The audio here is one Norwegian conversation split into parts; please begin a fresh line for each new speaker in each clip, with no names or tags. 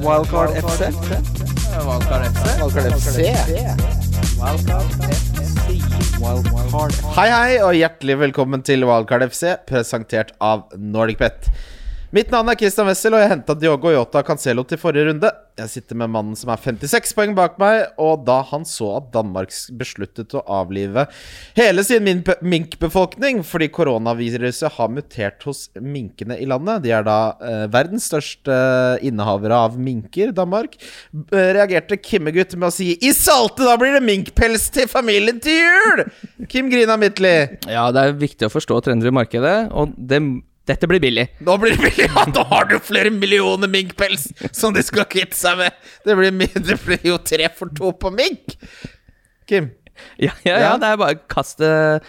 Wildcard FC.
Valgkar FC.
Wildcard FC. Wildcard FC.
Hei, hei, og hjertelig velkommen til Wildcard FC, presentert av NordicBet. Mitt navn er Christian Wessel, og jeg henta Diogo Yota Cancelo til forrige runde. Jeg sitter med mannen som er 56 poeng bak meg, og da han så at Danmark besluttet å avlive hele sin min- minkbefolkning fordi koronaviruset har mutert hos minkene i landet De er da eh, verdens største eh, innehavere av minker, Danmark. B- Reagerte Kimmegutt med å si 'I salte, da blir det minkpels til familien til jul!' Kim Grina Midtly.
Ja, det er viktig å forstå trender i markedet, og det, dette blir billig.
Nå blir det billig! Ja, nå har du flere millioner minkpels som de skal kvitte seg med! Det blir, mi- det blir jo tre for to på mink! Kim?
Ja, ja, ja,
Ja.
det er bare kast det. Eh,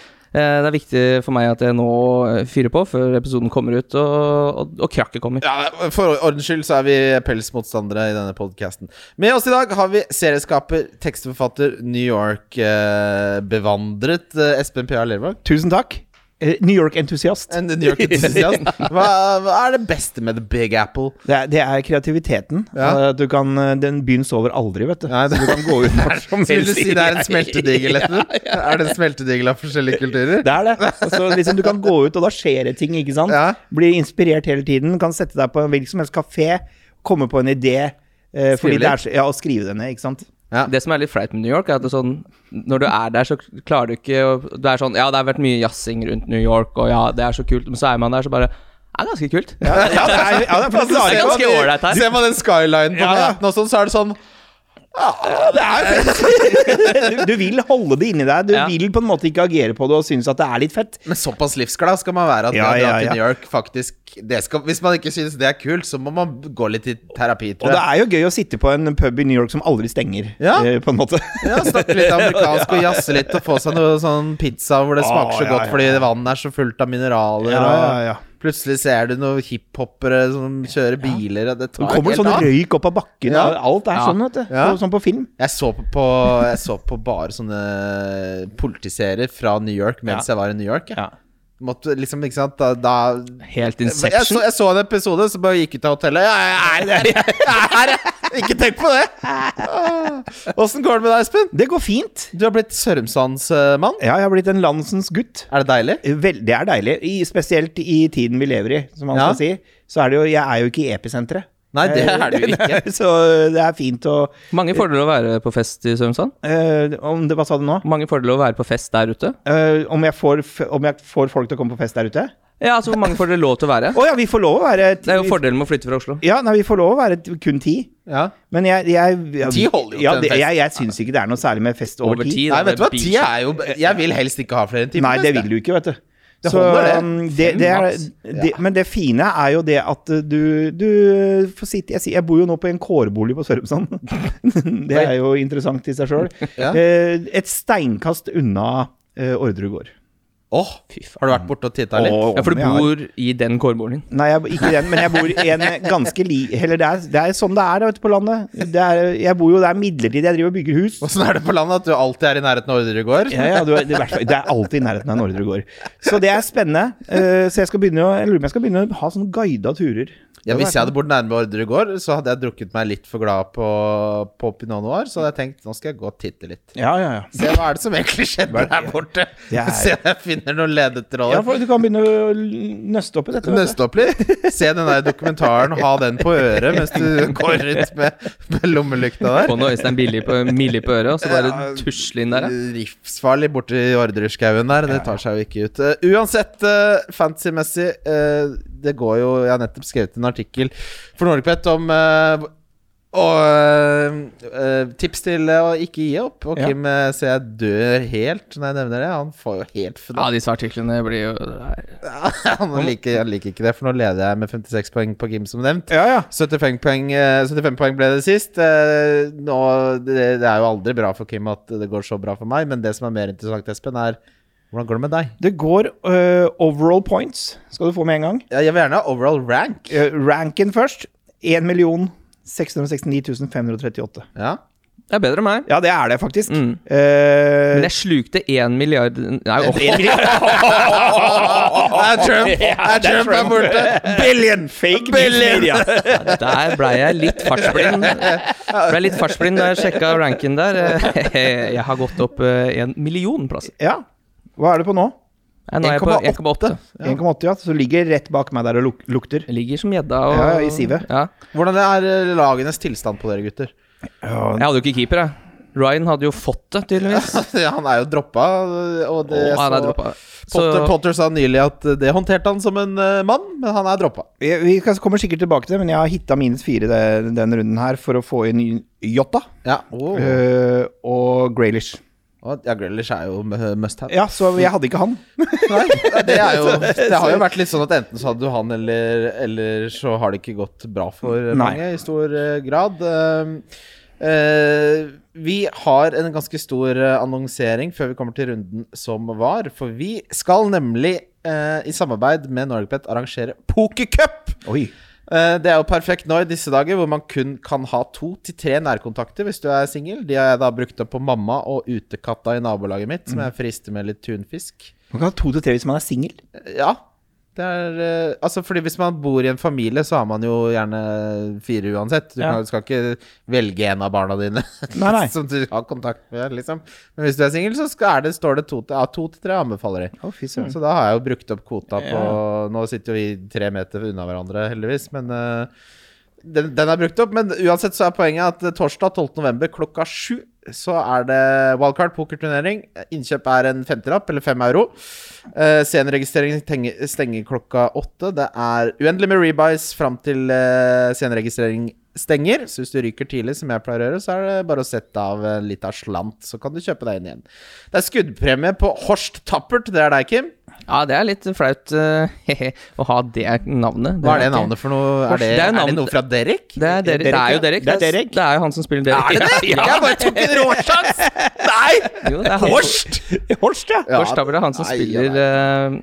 Det er viktig for meg at jeg nå eh, fyrer på før episoden kommer ut, og, og, og krakket kommer.
Ja, For ordens skyld så er vi pelsmotstandere i denne podkasten. Med oss i dag har vi serieskaper, tekstforfatter, New York-bevandret eh, Espen P.A. Lervåg.
Tusen takk. Eh, New York-entusiast.
En New York-entusiast. Hva, hva er det beste med The Big Apple?
Det, er- det er kreativiteten.
Ja.
Eh, Du kan, eh, den byen sover aldri, vet du.
Nei, det-
Så du kan gå ut når som
Vil du
helst.
si det er en smeltedigel, Espen? Er det en smeltedigel av forskjellige kulturer?
Det er det. Og så liksom, du kan gå ut, og da skjer det ting, ikke sant?
Ja.
Bli inspirert hele tiden. Kan sette deg på en hvilken som helst kafé, komme på en idé. eh, fordi
Skrive
det er så, ja, og skrive det ned, ikke sant?
Det som er litt flaut med New York, er at det er sånn, når du er der, så klarer du ikke å Du er sånn Ja, det har vært mye jazzing rundt New York, og ja, det er så kult, men så er man der, så bare Det er ganske kult.
Ja, ja, det er, ja, det er,
Altså,
faktisk-
det er
ser man
ganske
de-
ålreit her.
Ser man den skylinen på
Ja, ja.
Manhattan og sånn, så er det sånn
du, du vil holde det inni deg. Du
Ja.
vil på en måte ikke agere på det og synes at det er litt fett.
Men såpass livsglad skal man være at
Ja,
man
ja,
drar til
ja.
New York, faktisk det skal, Hvis man ikke synes det er kult, så må man gå litt i terapi,
Og
tror
det
jeg.
er jo gøy å sitte på en pub i New York som aldri stenger,
Ja.
eh, på en måte.
Ja, Snakke litt amerikansk og jazze litt og få seg noe sånn pizza hvor det
Å,
smaker så
ja,
godt
ja.
fordi vannet er så fullt av mineraler,
Ja, ja, ja.
og plutselig ser du noen hiphoppere som kjører biler, og det
Det
tar
kommer
helt
sånn
av.
røyk opp av bakken.
Ja.
og Alt er
Ja.
sånn, vet du.
Ja.
Sånn på film.
Jeg så på, på, jeg så på bare sånne politiserier fra New York mens jeg var i New York. Jeg.
Ja.
Måtte liksom, ikke sant, da, da
Helt
Jeg så,
Inception.
jeg så en episode som bare gikk ut av hotellet. Ja, jeg er her! Jeg er her! jeg. Ikke tenk på det! Åssen går det med deg, Espen?
Det går fint.
Du har blitt Sørumsandsmann.
Ja, jeg har blitt en landsens gutt.
Er det deilig?
Vel, det er deilig. I, spesielt i tiden vi lever i, som man
Ja.
skal si. Så er det jo Jeg er jo ikke i episenteret.
Nei,
Eh,
det er du ikke.
Så øh, det er fint å
Mange fordeler å være på fest i Sørumsand.
eh, om det, Hva sa du nå?
Mange fordeler å være på fest der ute.
Eh, om, jeg får, f- om jeg får folk til å komme på fest der ute?
Ja, altså, hvor mange får dere lov til å være?
Å ja, vi får lov å være
Det er jo fordelen med å flytte fra Oslo.
Ja, nei, vi får lov å være t- kun ti.
Ja.
Men jeg, jeg, jeg
Ti holder jo
ja,
til en
det-
fest.
Jeg, jeg syns ikke det er noe særlig med fest over,
Over
ti.
tid.
Nei, vet du hva, tida er jo Jeg vil helst ikke ha flere enn timer.
Nei, det vil du ikke, vet du.
Det holder, det.
um, det, det er, det, men det fine er jo det at uh, du, du får sitte jeg, sier- jeg bor jo nå på en kårbolig på Sørumsand. det er jo interessant i seg sjøl.
Ja.
Et steinkast unna uh, Orderud gård.
Åh, Har du vært borte og titta litt?
Åh.
Ja, for du
Jeg har-
bor i den kårboligen.
Nei, jeg, ikke den, men jeg bor i en ganske li... Eller det er, det er sånn det er da, vet du, på landet. Det er, jeg bor jo der midlertidig. Jeg driver og bygger hus.
Åssen er det på landet at du alltid er i nærheten av Orderud gård?
Ja, ja, du, er- det, er i hvert fall- det er alltid i nærheten av Nordre gård. Så det er spennende. Eh, så jeg skal begynne å, jeg lurer på om jeg skal begynne å ha sånne guida turer.
Ja, hvis jeg hadde bodd nærme Orderud gård, så hadde jeg drukket meg litt for glad på, på Pinot Noir. Så hadde jeg tenkt nå skal jeg gå og titte litt.
Ja, ja, ja.
Se hva er det som egentlig skjedde der borte.
Det er-
Se om jeg finner noen
ja
ledetråder.
for du kan begynne å l- nøste opp i dette. vet du.
Nøste opp litt. Se den der dokumentaren, ha den på øret mens du går rundt med, med lommelykta der.
Få noe Øystein Billig på, Millie på øret, og så bare tusle inn der. ja.
Livsfarlig borti Orderudskauen der. Det tar seg jo ikke ut. Eh, uansett, uh, fantasy-messig, eh, det går jo Jeg har nettopp skrevet en artikkel for Norgepet om eh, og eh, tips til å ikke gi opp. Og
Ja.
Kim eh, ser jeg dør helt når jeg nevner det. Han får jo helt fra
Ja, disse artiklene blir jo
Han liker, han liker ikke det, for nå leder jeg med 56 poeng på Kim, som nevnt.
Ja, ja.
75 poeng, eh, 75 poeng ble det sist. Eh, Nå, det, det er jo aldri bra for Kim at det går så bra for meg, men det som er mer interessant, Espen, er hvordan går det med deg?
Det går eh, overall points, skal du få med en gang.
Ja, Jeg vil gjerne ha overall rank.
Eh, ranken først. 1 669 538.
Ja.
Det er bedre enn meg.
Ja, det er det faktisk.
Mm.
Eh,
Men jeg slukte én milliard Nei, åh.
Er Trump, er Trump er borte!
Billion! Fake
Billion!
billion! media.
Der ble jeg litt fartsblind. Ble litt fartsblind da jeg sjekka ranken der. Jeg har gått opp eh, en million plasser.
Ja. Hva er det på nå?
Nei, Nå er jeg på 1,8.
1,8, ja. Så ligger det rett bak meg der og luk lukter.
Jeg ligger som gjedda. og-
Ja, ja, i sivet.
Ja.
Hvordan er eh, lagenes tilstand på dere, gutter?
Jeg hadde jo ikke keeper, jeg. Ryan hadde jo fått det, tydeligvis.
Ja, han er jo droppa, og det
Å, han er
så-
droppa.
Potter,
Så
Potter sa nylig at eh, det håndterte han som en eh, mann, men han er droppa.
Vi vi skal- kommer sikkert tilbake til det, men jeg har hitta minus fire den, den runden her for å få inn Jota
Ja, oh.
eh, og Graylish.
Og- ja Grealish er jo m- must have.
Ja, så jeg hadde ikke han.
Nei, det, er jo, det har jo vært litt sånn at enten så hadde du han, eller, eller så har det ikke gått bra for mange i stor eh, grad. Um, eh, vi har en ganske stor eh, annonsering før vi kommer til runden som var, for vi skal nemlig eh, i samarbeid med Norgepet arrangere pokercup!
Oi.
Eh, Det er jo perfekt nå i disse dager, hvor man kun kan ha to til tre nærkontakter hvis du er singel. De har jeg da brukt opp på mamma og utekatta i nabolaget mitt, som jeg frister med litt tunfisk.
Man kan ha to til tre hvis man er singel.
Eh, Ja. Det er eh, Altså, fordi hvis man bor i en familie, så har man jo gjerne fire uansett. Du
Ja.
kan, skal ikke velge en av barna dine
Nei, nei.
som du har kontakt med, liksom. Men hvis du er singel, så skal, er det, står det to til, ja, to til tre, anbefaler de.
Å, fy søren.
Så da har jeg jo brukt opp kvota på Nå sitter jo vi tre meter unna hverandre, heldigvis, men eh, den, den er brukt opp. Men uansett så er poenget at eh, torsdag 12.11. klokka sju så er det wildcard pokerturnering. Innkjøp er en femtilapp, eller fem euro. Uh, senregistrering tenger- stenger klokka åtte. Det er uendelig med rebuys fram til eh, senregistrering stenger. Så hvis du ryker tidlig, som jeg pleier å gjøre, så er det bare å sette av eh, litt av slant, så kan du kjøpe deg inn igjen. Det er skuddpremie på Horst Tappert. Det er deg, Kim.
ja, det er litt flaut eh, å ha det navnet.
Hva er det
ikke-
navnet for noe? Er
Horst,
det,
det er
er
jo navn-
det noe fra Derek?
Det er, Derek, det er jo Derek.
Det er Derek.
Det er jo han som spiller Derek.
Er det det?
Ja,
Jeg bare tok en råsjans! Nei!
Jo, det er han.
Horst!
Horst, ja.
Ja.
Lars Tabler er han som
Nei,
spiller eh,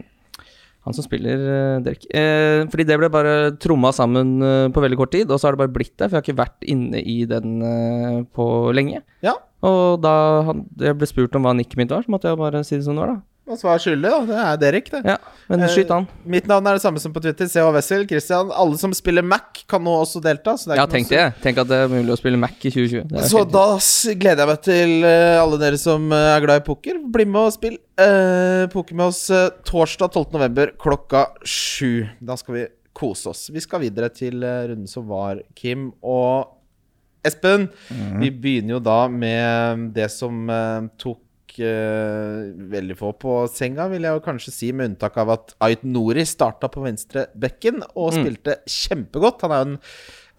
Han som spiller eh, Derek. Eh, fordi det ble bare tromma sammen eh, på veldig kort tid, og så har det bare blitt der, for jeg har ikke vært inne i den eh, på lenge.
Ja,
Og da han, jeg ble spurt om hva nicket mitt var, så måtte jeg bare si det som det var, da.
og svar skyldig, da. Det er Derek, det.
Ja, Men
Eh,
skyt han.
Mitt navn er det samme som på Twitter. CH Wessel. Christian. Alle som spiller Mac, kan nå også delta. Så, det er
Ja,
ikke noe
tenk det. Tenk at det er mulig å spille Mac i 2020. Det er
så
helt-
da s- gleder jeg meg til eh, alle dere som eh, er glad i poker. Bli med og spill eh, poker med oss eh, torsdag 12.11. klokka sju. Da skal vi kose oss. Vi skal videre til eh, runden som var, Kim. Og Espen, vi begynner jo da med det som eh, tok eh, veldig få på senga, vil jeg jo kanskje si, med unntak av at Ait Nori starta på venstre bekken og spilte kjempegodt. Han er jo en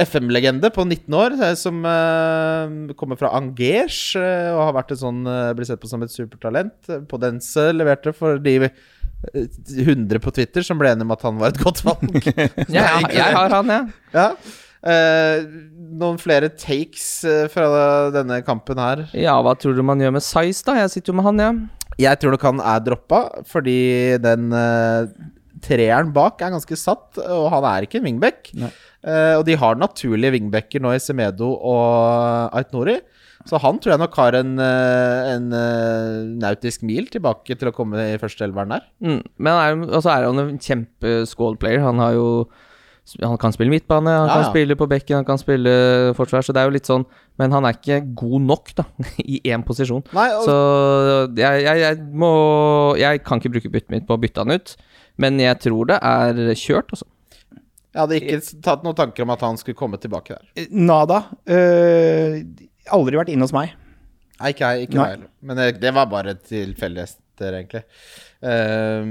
FM-legende på 19 år eh, som eh, kommer fra Angers eh, og har vært et sånn, eh, blir sett på som et supertalent. Podense leverte for de eh, 100 på Twitter som ble enige om at han var et godt valg.
Ja, jeg, jeg har han, jeg.
Ja. Eh, noen flere takes eh, fra denne kampen her?
Ja. hva tror du man gjør med size, da? Jeg sitter jo med han, jeg.
Jeg tror nok han er droppa, fordi den eh, treeren bak er ganske satt, og han er ikke en wingback. Eh, og de har naturlige wingbacker nå i Semedo og Ait Nori, så han tror jeg nok har en, eh, en eh, nautisk mil tilbake til å komme i første elveren der.
Mm. Men han er, jo- og så er han en kjempe squad-player. Han har jo Han kan spille midtbane, han
Ja,
kan
ja.
spille på bekken, han kan spille forsvar, så det er jo litt sånn Men han er ikke god nok, da, i én posisjon.
Nei, og,
Så jeg, jeg, jeg må Jeg kan ikke bruke byttet mitt på å bytte han ut, men jeg tror det er kjørt, altså.
jeg hadde ikke tatt noen tanker om at han skulle komme tilbake der.
Nada. eh, aldri vært inne hos meg.
Nei, ikke jeg. Ikke
Nei.
jeg heller. Men det, det var bare tilfeldigheter, egentlig. Ehm,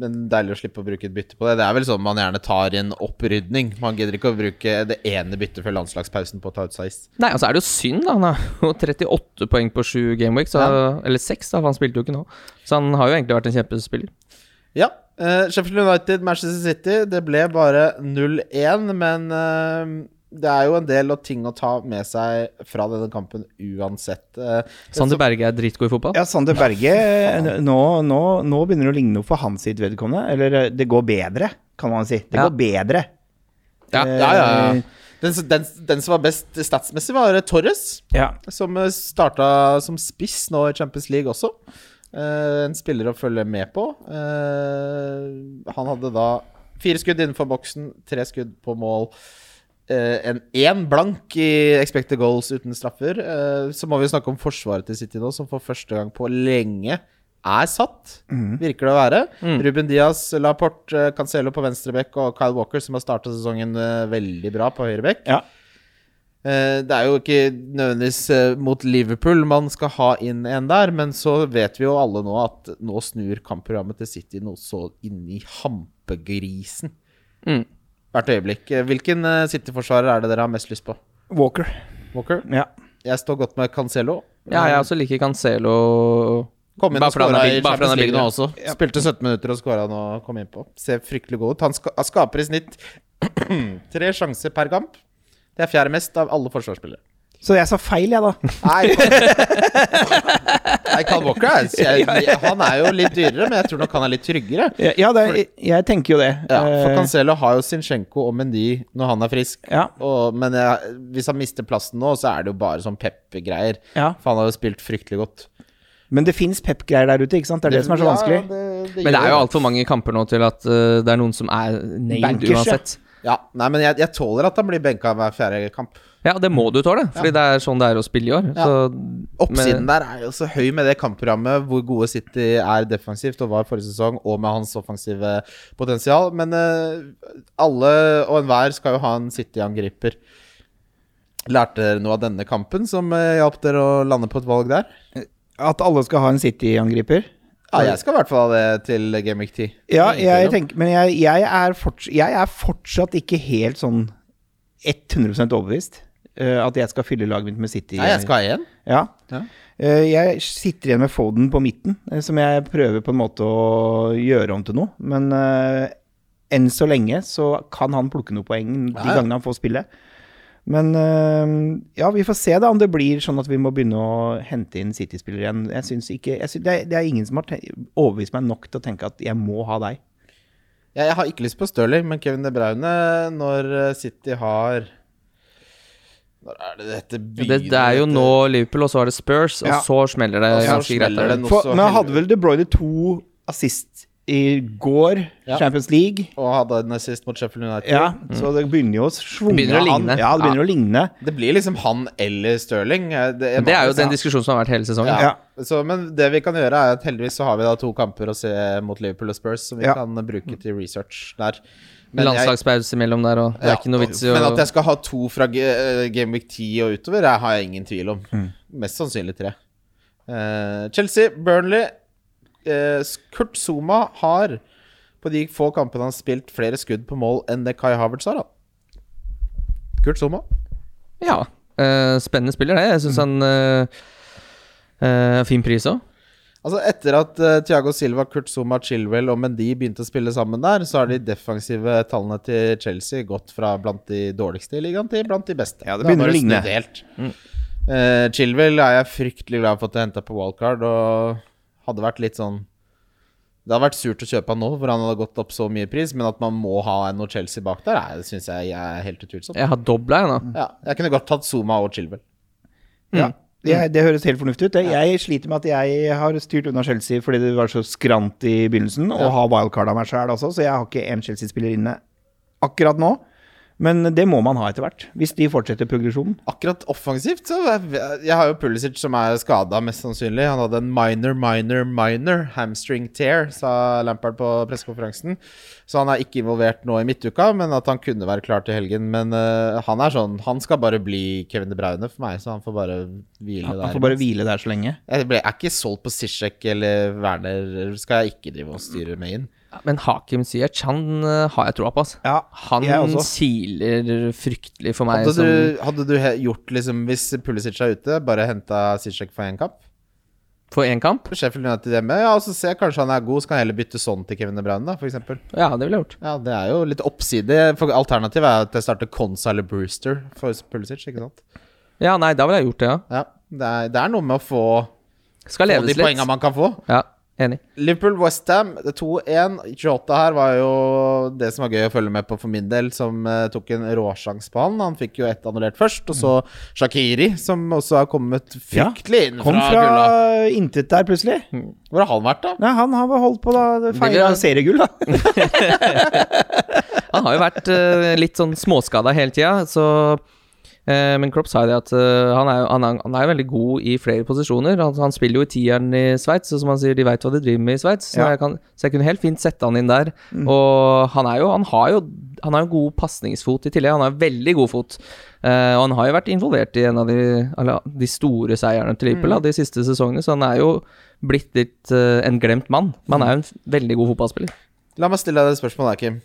men deilig å slippe å bruke et bytte på det. Det er vel sånn man gjerne tar i en opprydning. Man gidder ikke å bruke det ene byttet før landslagspausen på å ta ut Saiz.
Nei, altså er det jo synd, da. Han har jo 38 poeng på sju gameweeks, så- eller seks, da, for han spilte jo ikke nå. Så han har jo egentlig vært en kjempespiller.
Ja. eh, Sheffield United, Manchester City. Det ble bare 0-1, men ehm, det er jo en del og ting å ta med seg fra denne kampen uansett. Eh,
Sander Berge er dritgod i fotball.
Ja, Sander Berge, eh, n- nå, nå, nå begynner det å ligne noe for hans sitt vedkommende. Eller eh, det går bedre, kan man si. Det
Ja.
går bedre.
Ja.
Eh,
ja, ja, ja. Den, s- den, s- den som var best statsmessig, var Torres.
Ja.
Som eh, starta som spiss nå i Champions League også. Eh, en spiller å følge med på. Eh, han hadde da fire skudd innenfor boksen, tre skudd på mål. Eh, en én blank i expected goals uten straffer. Eh, så må vi jo snakke om forsvaret til City nå, som for første gang på lenge er satt, virker det å være. Ruben Diaz, Laporte, eh, Cancelo på venstre bekk og Kyle Walker, som har starta sesongen eh, veldig bra på høyre bekk.
Ja.
Eh, Det er jo ikke nødvendigvis eh, mot Liverpool man skal ha inn en der, men så vet vi jo alle nå at nå snur kampprogrammet til City noe så inni hampegrisen.
Mm.
Hvert øyeblikk. Eh, Hvilken eh, City-forsvarer er det dere har mest lyst på?
Walker.
Walker?
Ja.
Jeg står godt med Cancelo.
ja, jeg også liker Cancelo
Kom inn
Bare
og
fordi han
skåra
er
i
big- bare fordi
Champions
han er
League
big,
nå
ja.
også. Spilte 17 minutter og skåra nå, kom inn på. Ser fryktelig god ut. Han ska han skaper i snitt tre sjanser per kamp. Det er fjerde mest av alle forsvarsspillere.
Så jeg sa feil, jeg, da.
Nei, Nei Kyle Walker er, jeg, han er jo litt dyrere, men jeg tror nok han er litt tryggere.
Ja, ja, det, jeg, jeg tenker jo det.
Ja, for
Eh,
Cancelo har jo Zinchenko og Mendy når han er frisk.
ja.
Og, men jeg, hvis han mister plassen nå, så er det jo bare sånn Pep-greier.
Ja.
For han har jo spilt fryktelig godt.
Men det fins Pep-greier der ute, ikke sant? Det er det som er så vanskelig.
Ja, det,
Men det
gjør
er jo altfor mange kamper nå til at eh, det er noen som er named
Bankers, ja.
uansett.
Ja, nei, men jeg, jeg tåler at han blir benka hver fjerde kamp.
Ja, det må du tåle, fordi det er sånn det er å spille i år.
Ja.
Så
Oppsiden
men-
der er jo så høy med det kampprogrammet, hvor gode City er defensivt og var forrige sesong, og med hans offensive potensial. Men eh, alle og enhver skal jo ha en City-angriper. Lærte dere noe av denne kampen som eh, hjalp dere å lande på et valg der?
At alle skal ha en City-angriper.
Ja, jeg skal i hvert fall ha det til Game Week 10. Det er
Ja,
ingen
jeg
tvil om.
tenker, men jeg, jeg, er fortsatt, jeg er fortsatt ikke helt sånn 100 overbevist eh, at jeg skal fylle laget mitt med City.
Nei, jeg skal ha én.
Ja.
Ja.
Eh, jeg sitter igjen med Foden på midten, eh, som jeg prøver på en måte å gjøre om til noe. Men eh, enn så lenge så kan han plukke noen poeng de
Ja, ja.
gangene han får spille. Men eh, ja, vi får se da om det blir sånn at vi må begynne å hente inn City-spillere igjen. Jeg synes ikke, jeg synes, det, er, det er ingen som har te- overbevist meg nok til å tenke at jeg må ha deg.
Jeg, jeg har ikke lyst på Stirling, men Kevin De Bruyne når eh, City har Når er det dette
det, det er jo
dette-
nå Liverpool, og så er det Spurs, og
Ja.
så smeller det
Og så
ganske greit.
smeller
der.
det noe
For,
så
men
helvete.
jeg hadde vel De Bruyne to assist i går,
Ja.
Champions League.
Og hadde en assist mot Sheffield United.
Ja, Så det begynner jo å svunge
Begynner å
an.
ligne.
Ja, det begynner å ligne.
Det blir liksom han eller Stirling. eh,
Men Det er jo den
ja.
diskusjonen som har vært hele sesongen.
Ja.
Ja.
Så, men det vi kan gjøre, er at heldigvis så har vi da to kamper å se mot Liverpool og Spurs som vi
Ja.
kan bruke til research der. jeg-
Landslagspause imellom der, og det
ja,
er ikke noe vits i å
Men at jeg skal ha to fra G- eh, Gameweek 10 og utover, det har jeg ingen tvil om.
Mm.
Mest sannsynlig tre. Eh, Chelsea, Burnley eh, Kurt Zuma har på de få kampene han har spilt, flere skudd på mål enn det Kai Havertz har. Da. Kurt Zuma.
Ja. eh, spennende spiller, det. Jeg
Mm.
syns han eh, eh, Fin pris òg.
Altså Etter at eh, Thiago Silva, Kurt Zuma, Chilwell og Mendy begynte å spille sammen der, så
Mm.
har de defensive tallene til Chelsea gått fra blant de dårligste i ligaen til blant de beste.
Ja, det
Da
begynner
har
å ligne. Mm.
snudd Helt. Eh, Chilwell er jeg fryktelig glad for at jeg henta på wildcard, og hadde vært litt sånn Det hadde vært surt å kjøpe han nå, for han hadde gått opp så mye pris, men at man må ha noe Chelsea bak der, nei, det syns jeg er helt utvilsomt. Ja.
Jeg har dobla, jeg
Mm.
nå.
jeg kunne godt tatt Zuma og Chilwell.
Ja. Det, det høres helt fornuftig ut. det. Jeg sliter med at jeg har styrt unna Chelsea fordi det var så skrant i begynnelsen, og har wildcard av meg sjøl også, så jeg har ikke én Chelsea-spiller inne akkurat nå. Men det må man ha etter hvert, hvis de fortsetter progresjonen.
Akkurat offensivt så er- Jeg har jo Pulisic som er skada, mest sannsynlig. Han hadde en minor, minor, minor hamstring tear, sa Lampard på pressekonferansen. Så han er ikke involvert nå i midtuka, men at han kunne være klar til helgen. Men eh, han er sånn Han skal bare bli Kevin De Bruyne for meg, så han får bare hvile
Han
der.
får bare hvile der så lenge.
Jeg ble, er ikke solgt på Zizek eller Werner, skal jeg ikke drive og styre med inn.
Men Hakim Ziyech, han eh, har jeg troa på, altså.
Ja,
Han
jeg også.
siler fryktelig for meg.
Hadde
som-
du, hadde du he- gjort liksom Hvis Pulisic er ute, bare henta Zizek for én kamp?
For én kamp?
Sheffield United hjemme. Ja, og så ser jeg kanskje han er god, så kan jeg heller bytte sånn til Kevin De Bruyne, da, for eksempel.
Ja, det ville jeg gjort.
Ja, det er jo litt oppside. For alternativet er at jeg starter Consa eller Brewster for Pulisic, ikke sant?
Ja, nei, da ville jeg gjort det, ja.
Ja, det er, det er noe med å få,
Skal
få de
leves
poengene
litt.
man kan få.
Ja. Enig.
Liverpool-Westham 2-1. Jota her var jo det som var gøy å følge med på for min del, som eh, tok en råsjanse på han. Han fikk jo ett annullert først, og så Shakiri, som også har kommet fryktelig inn
Kom
fra,
fra
kulda.
intet der, plutselig.
Hvor har han vært, da?
Nei, han har holdt på, da.
vil-
Feira seriegull, da.
Han har jo vært eh, litt sånn småskada hele tida, så eh, Men Klopp sa jo det at eh, han, er, jo- han, er, han er jo veldig god i flere posisjoner. Han, han spiller jo i tieren i Sveits, og som han sier, de veit hva de driver med i Sveits. Så,
Ja.
jeg kan- så jeg kunne helt fint sette han inn der. Og han er jo Han har jo han har jo god pasningsfot i tillegg. Han har veldig god fot. Eh, og han har jo vært involvert i en av de, eller, de store seierne til Liverpool da, de siste sesongene, så han er jo blitt litt eh, en glemt mann. Men han er jo en f- veldig god fotballspiller.
La meg stille deg et spørsmål, der, Kim.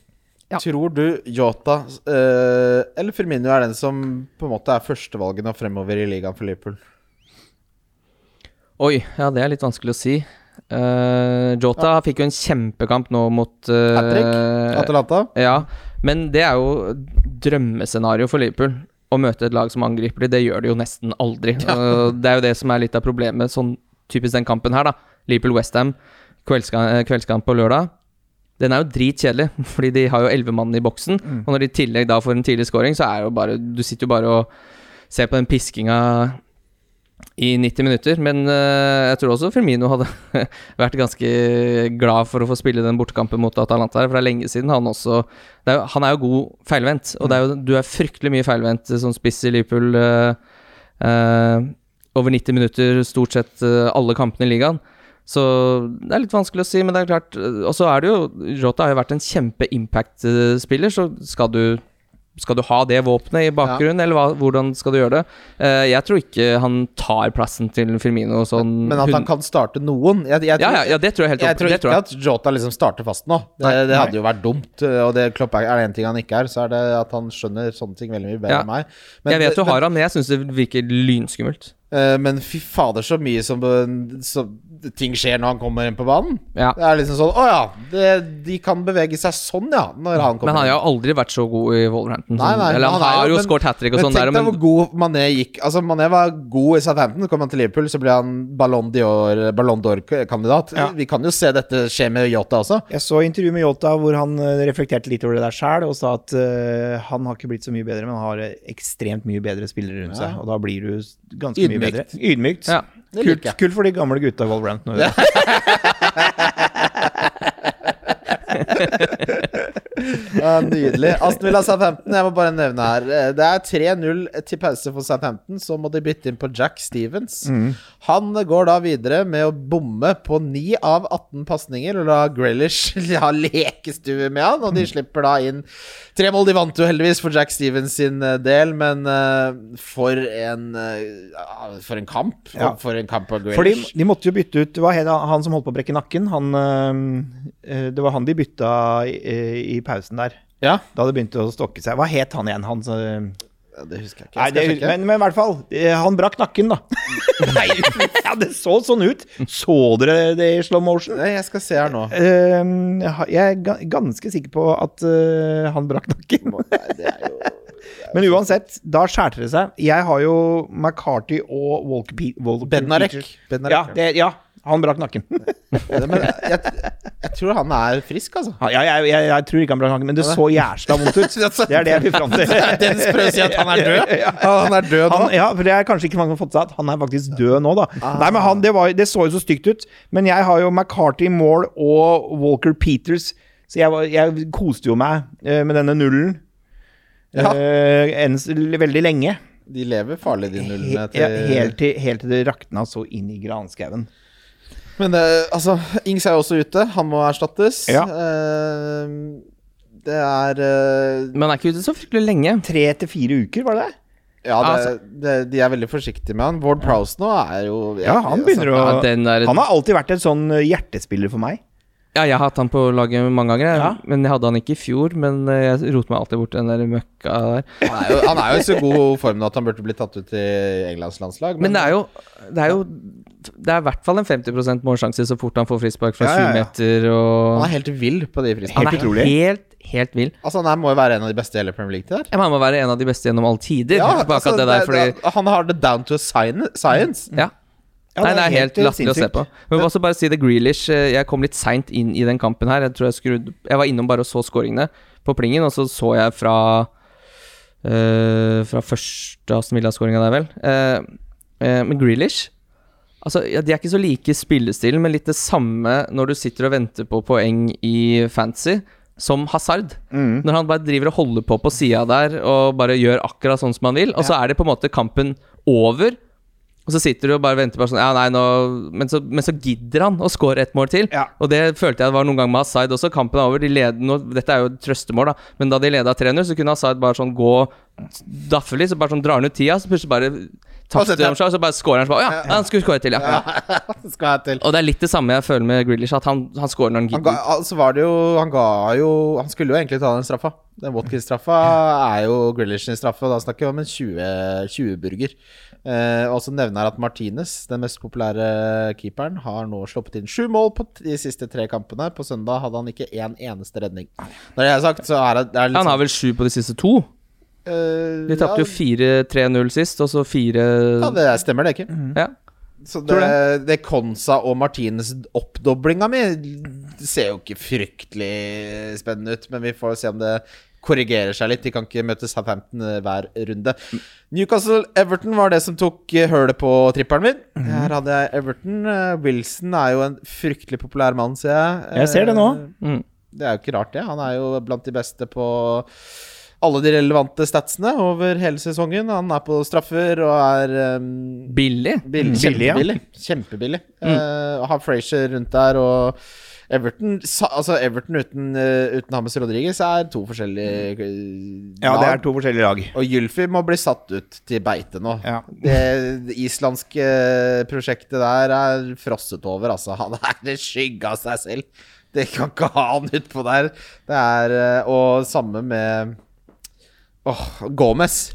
Tror du Jota eh, eller Firmino er den som på en måte er førstevalget nå fremover i ligaen for Liverpool?
Oi, ja, det er litt vanskelig å si. Eh, Jota fikk jo en kjempekamp nå mot eh,
Hat trick? Atalanta?
Ja, men det er jo drømmescenario for Liverpool. Å møte et lag som angriper de, det gjør de jo nesten aldri. Og det er jo det som er litt av problemet, sånn typisk den kampen her, da. Liverpool-Westham, kveldskamp, eh, kveldskamp på lørdag. Den er jo dritkjedelig, fordi de har jo elleve mann i boksen.
Mm.
Og når de i tillegg da får en tidlig scoring, så er jo bare Du sitter jo bare og ser på den piskinga i 90 minutter. Men eh, jeg tror også Firmino hadde vært ganske glad for å få spille den bortekampen mot Atalanta her, for det er lenge siden han også det er, jo- Han er jo god feilvendt, og det er jo, du er fryktelig mye feilvendt eh, som spiss i Liverpool eh, eh, over 90 minutter stort sett eh, alle kampene i ligaen. Så det er litt vanskelig å si, men det er klart eh, Og så er det jo Jota har jo vært en kjempe-impact-spiller, så skal du skal du ha det våpenet i bakgrunnen, eller hva, hvordan skal du gjøre det? Eh, jeg tror ikke han tar plassen til Firmino sånn
Men at han
hun-
kan starte noen? Jeg, jeg,
ja,
tror-
ja, ja, det tror jeg helt
Jeg
opp.
tror
det
ikke
tror jeg.
at Jota liksom starter fast nå. Det,
Nei,
det
nei.
hadde jo vært dumt. eh, Og det Klopp er, er det en ting han ikke er, så er det at han skjønner sånne ting veldig mye bedre
Ja.
enn meg.
jeg vet du
men,
har han, men jeg syns det virker lynskummelt.
eh, men fy fader, så mye som så, ting skjer når han kommer inn på banen.
Ja.
Det er liksom sånn Å ja, det, de kan bevege seg sånn, ja, når han
Men
kommer
han
inn.
har jo aldri vært så god i Wolverhampton.
Nei, nei,
sånn. Eller han,
er
har jo
men-
skåret hat trick og sånn der,
Men tenk deg
men
hvor god Mané gikk. Altså, Mané var god i Southampton, kom han til Liverpool, så ble han Ballon d'Or- Ballon d'Or-kandidat.
Ja.
Vi kan jo se dette skje med Yota også.
Jeg så intervju med Yota hvor han eh, reflekterte litt over det der sjæl, og sa at eh, han har ikke blitt så mye bedre, men han har eh, ekstremt mye bedre spillere rundt seg. Og da blir du s- ganske mye
Ydmykt.
bedre. Ydmykt.
Ja,
det
kult,
liker jeg.
kult for de gamle gutta i Wolverhampton. og det.
Ja, nydelig. Aston Villa Southampton, jeg må bare nevne her. eh, Det er 3-0 til pause for Southampton. Så må de bytte inn på Jack Stevens.
Mm.
Han går da videre med å bomme på 9 av 18 pasninger og la Grealish ha lekestue med han.
Mm.
Og de slipper da inn tre mål. De vant jo heldigvis for Jack Stevens sin eh, del, men eh, for en eh, ja, For en kamp. For,
Ja.
for en kamp av
For de,
Grealish.
de måtte jo bytte ut Det var he- han som holdt på å brekke nakken. Han, eh, eh, det var han de bytta i, eh, i pausen der.
Ja,
Da det begynte å stokke seg. Hva het han eh, igjen? Han, som-
Ja, det husker jeg ikke.
Nei,
Jeg
det,
skal sjekke.
men, men i hvert fall, eh, han brakk nakken, da. Nei, ja, det så sånn ut. Så dere det i slow motion?
Nei, jeg skal se her nå.
Ehm, jeg er ga- ganske sikker på at eh, han brakk nakken.
Nei, det er jo
Men uansett, da skjærte det seg. Jeg har jo McCarty og Walker, Pe Walker
Bednarek.
Peters.
Bednarek,
Ja,
ja.
det, ja, han brakk nakken.
Ja, Men jeg, jeg tror han er frisk, altså.
Ja, jeg, jeg, jeg tror ikke han brakk nakken, men det så jævla vondt ut. Det er det jeg vil fram til.
Dennis prøver å si at han er død. Han er død nå.
Han, ja, for det er kanskje ikke mange som har fått seg at han er faktisk død nå, da. Nei, men han, det, var, det så jo så stygt ut. Men jeg har jo McCarty i mål og Walker Peters, så jeg, var, jeg koste jo meg eh, med denne nullen.
Ja.
Eh, en, s- veldig lenge.
De lever farlig, de
He,
nullene.
ja,
Til.
helt, til, helt til det rakna så inn i granskauen.
Men eh, altså, Ings er jo også ute. Han må erstattes.
Ja.
Eh, det er eh,
Men han er ikke ute så fryktelig lenge.
Tre til fire uker, var det det?
Ja, det,
Altså-
det, de er veldig forsiktige med han. Ward Prowse nå er jo altså,
Ja, han begynner å
Ja, den der,
Han har alltid vært en sånn eh, hjertespiller for meg.
ja, jeg har hatt han på laget mange ganger, jeg.
Ja.
men jeg hadde han ikke i fjor. Men eh, jeg roter meg alltid bort den der møkka der.
han, er jo, han er jo i så god form nå at han burde bli tatt ut i Englands landslag.
Men det er jo Det er jo Det er i hvert fall en 50 målsjanse så fort han får frispark fra
Ja,
syv
ja, ja.
meter og
han er helt vill på de
helt
frisparkene.
Han er
utrolig.
Helt, helt vill.
Altså, han er, må jo være en av de beste i hele Premier League til der.
Ja, men han må være en av de beste gjennom alle tider. Ja,
altså,
det der, fordi,
det- han har det down to a science. science.
ja.
Ja,
Nei, det er helt
eh,
latterlig å se
sinnssykt.
på. Men jeg må også bare si det Grealish eh, Jeg kom litt seint inn i den kampen her. Jeg tror jeg skrudde Jeg var innom bare og så scoringene på plingen, og så så jeg fra eh, Fra første Aston Villa-skåringa der, vel. Eh, eh, men Grealish Altså, ja, De er ikke så like i spillestilen, men litt det samme når du sitter og venter på poeng i fantasy, som Hazard. Når han bare driver og holder på på sida der og bare gjør akkurat sånn som han vil. Og så er det på en måte kampen over, og så sitter du og bare venter på sånn, ja, nei, nå, men, så, men så gidder han å score ett mål til.
Ja.
Og det følte jeg var noen gang med Hazard også. Kampen er over. De led, nå, dette er jo et trøstemål, da. Men da de leda 3-0, så kunne Hazard bare sånn gå daffe litt. Så bare sånn drar han ut tida, så plutselig bare tapte de
setter han.
seg, og så bare scorer han. Så bare, ja, ja, han skulle score til, ja.
Skal jeg til.
Og det er litt det samme jeg føler med Grealish, at han, han scorer når han
Han ga,
gidder.
altså var det jo, han ga jo Han skulle jo egentlig ta den straffa. Den Watkins-straffa er jo Grealish sin straffe, og da snakker vi om en 20 20-burger. Eh, og så nevner jeg at Martinez, den mest populære keeperen, har nå sluppet inn sju mål på de siste tre kampene. På søndag hadde han ikke én eneste redning. Når det er sagt, så er det, det er litt
Han har vel sju på de siste to.
sånn, eh,
De tapte jo 4-3-0 sist, og så fire
ja, det stemmer, det, ikke?
ja.
Så det,
Tror
det. Konsa og Martines oppdoblinga mi ser jo ikke fryktelig spennende ut, men vi får se om det korrigerer seg litt. De kan ikke møte Southampton eh, hver runde. Newcastle-Everton var det som tok eh, hølet på trippelen min.
Mhm.
Her hadde jeg Everton. Eh, Wilson er jo en fryktelig populær mann, ser jeg.
Jeg ser det nå.
Eh,
Mm.
Det er jo ikke rart, det. Han er jo blant de beste på alle de relevante statsene over hele sesongen. Han er på straffer og er eh,
Billig.
Bill,
Billig, ja.
kjempebillig. Kjempebillig.
Mm.
Eh, har Frazier rundt der og Everton sa, Altså Everton uten, uh, uten Hames Rodriguez er to forskjellige eh,
Ja, det
lag.
er to forskjellige lag.
Og Julfi må bli satt ut til beite nå.
Ja.
Det, det islandske eh, prosjektet der er frosset over, altså. Han er en skygge av seg selv. Det kan ikke ha han utpå der. Det er eh, Og samme med Åh, Gomez.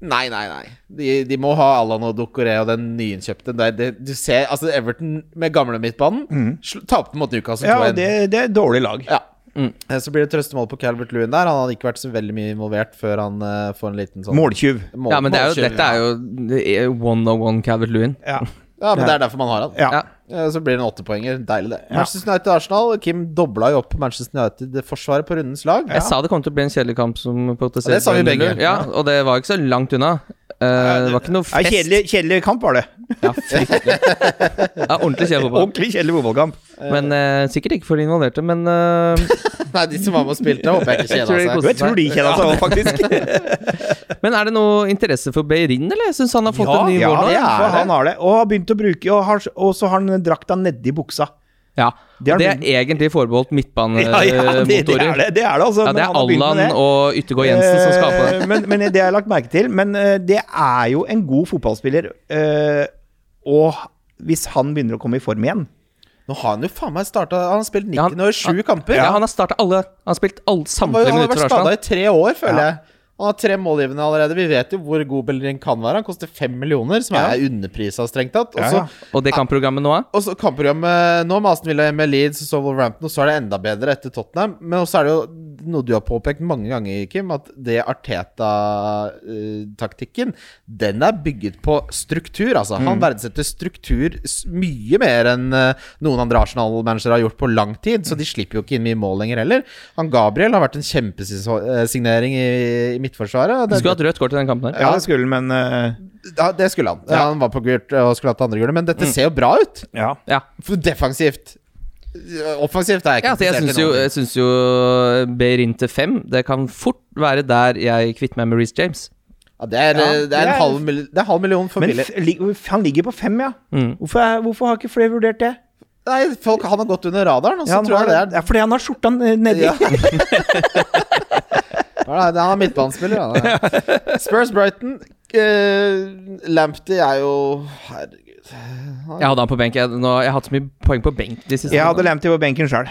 Nei, nei, nei. De, de må ha Allan og Dokore og den nyinnkjøpte. Det, det, du ser, altså Everton med gamle midtbanen mm. tapte mot Newcastle
Ja,
2-1.
og det, det er et dårlig lag.
Ja. Eh, Så blir det trøstemål på Calvert Lewin der. Han hadde ikke vært så veldig mye involvert før han eh, får en liten sånn
Måltyv.
mål-
Ja, men det er jo,
målkjøring.
dette er jo det er one on one Calvert Lewin.
Ja.
Ja, men det er derfor man har han.
ja.
Ja.
Eh, Så blir det en åttepoenger. Deilig, det. Manchester United-Arsenal. Kim dobla jo opp Manchester United-forsvaret på rundens lag.
Jeg sa det kom til å bli en kjedelig kamp som
Ja,
protesterer.
det sa vi begge.
Ja, og det var ikke så langt unna. Eh, det var ikke noe
Ja,
fest.
kjedelig, kjedelig kamp var det.
Ja, fryktelig. Ja, ordentlig kjedelig fotball.
Ordentlig kjedelig fotballkamp.
Men eh, sikkert ikke for de involverte, men eh,
Nei, de som var med og spilte, håper jeg ikke kjeda seg.
Jeg tror de
Jo, jeg tror de kjeda seg òg, faktisk.
Men er det noe interesse for Beirin, eller? Jeg syns han har fått en ny
ja,
vår nå.
ja,
er
for
det.
han har det. Og har begynt å bruke Og, har, og så har han drakta nedi buksa.
Ja.
Det
Det
er
er, egentlig forbeholdt
Ja, ja,
midtbanemotorer.
det, det er det, det er det, altså.
Eh, Ja, det er
men han har begynt med
Allan
det.
og Yttergård Jensen som skal ha på det.
Eh, men, men det jeg har jeg lagt merke til. Men eh, det er jo en god fotballspiller. eh, og hvis han begynner å komme i form igjen
Nå har han jo faen meg starta Han har spilt
Ja, han-
19 og 7 kamper.
Ja, han har startet alle. Han har spilt alle,
Han var- han
samtlige
har
minutter
vært
for
skada
Arsenal.
i tre år, føler jeg. Han har tre målgivende allerede. Vi vet jo hvor god Bellerin kan være. Han koster fem millioner, som er underprisa, strengt tatt. Og
Ja,
så
ja.
Og det kampprogrammet nå,
og så kampprogrammet nå med Aston Villa hjemme, Leeds og så Wolverhampton, og så er det enda bedre etter Tottenham. Men også er det jo noe du har påpekt mange ganger, Kim, at det Arteta-taktikken, den er bygget på struktur. Altså,
Mm.
han verdsetter struktur s- mye mer enn eh, noen andre Arsenal-managere har gjort på lang tid, så de slipper jo ikke inn mye mål lenger heller. Han Gabriel har vært en kjempesignering i, i midtforsvaret. og
Du
det-
skulle hatt rødt kort i den kampen her.
Ja, det skulle men eh,
Ja, det skulle han. Ja, han var på gult og skulle hatt det andre gule, men
Mm.
dette ser jo bra ut.
ja.
Ja.
For Defensivt. Offensivt er jeg ikke
Ja, altså, jeg syns
noe.
jo, jeg synes jo Beirin til fem Det kan fort være der jeg kvitter meg med Reece James.
Ja, det, er, eh, det,
det
er en
er-
halv, mil- det er halv million for
Men
billig.
f lig- han ligger på fem, ja.
Mm.
Hvorfor, er, hvorfor har ikke flere vurdert det?
Nei, folk, han har gått under radaren, og så
Ja, han
tror
har,
jeg det
ja, fordi han har skjorta n- nedi.
Ja. er ja, nei, Han er midtbanespiller, han. er. Spurs Brighton. Uh, Lamptey er jo Herregud.
Jeg hadde han på benk. Jeg, nå, jeg har hatt så mye poeng på benk de siste
Jeg hadde Lamptey på benken sjøl.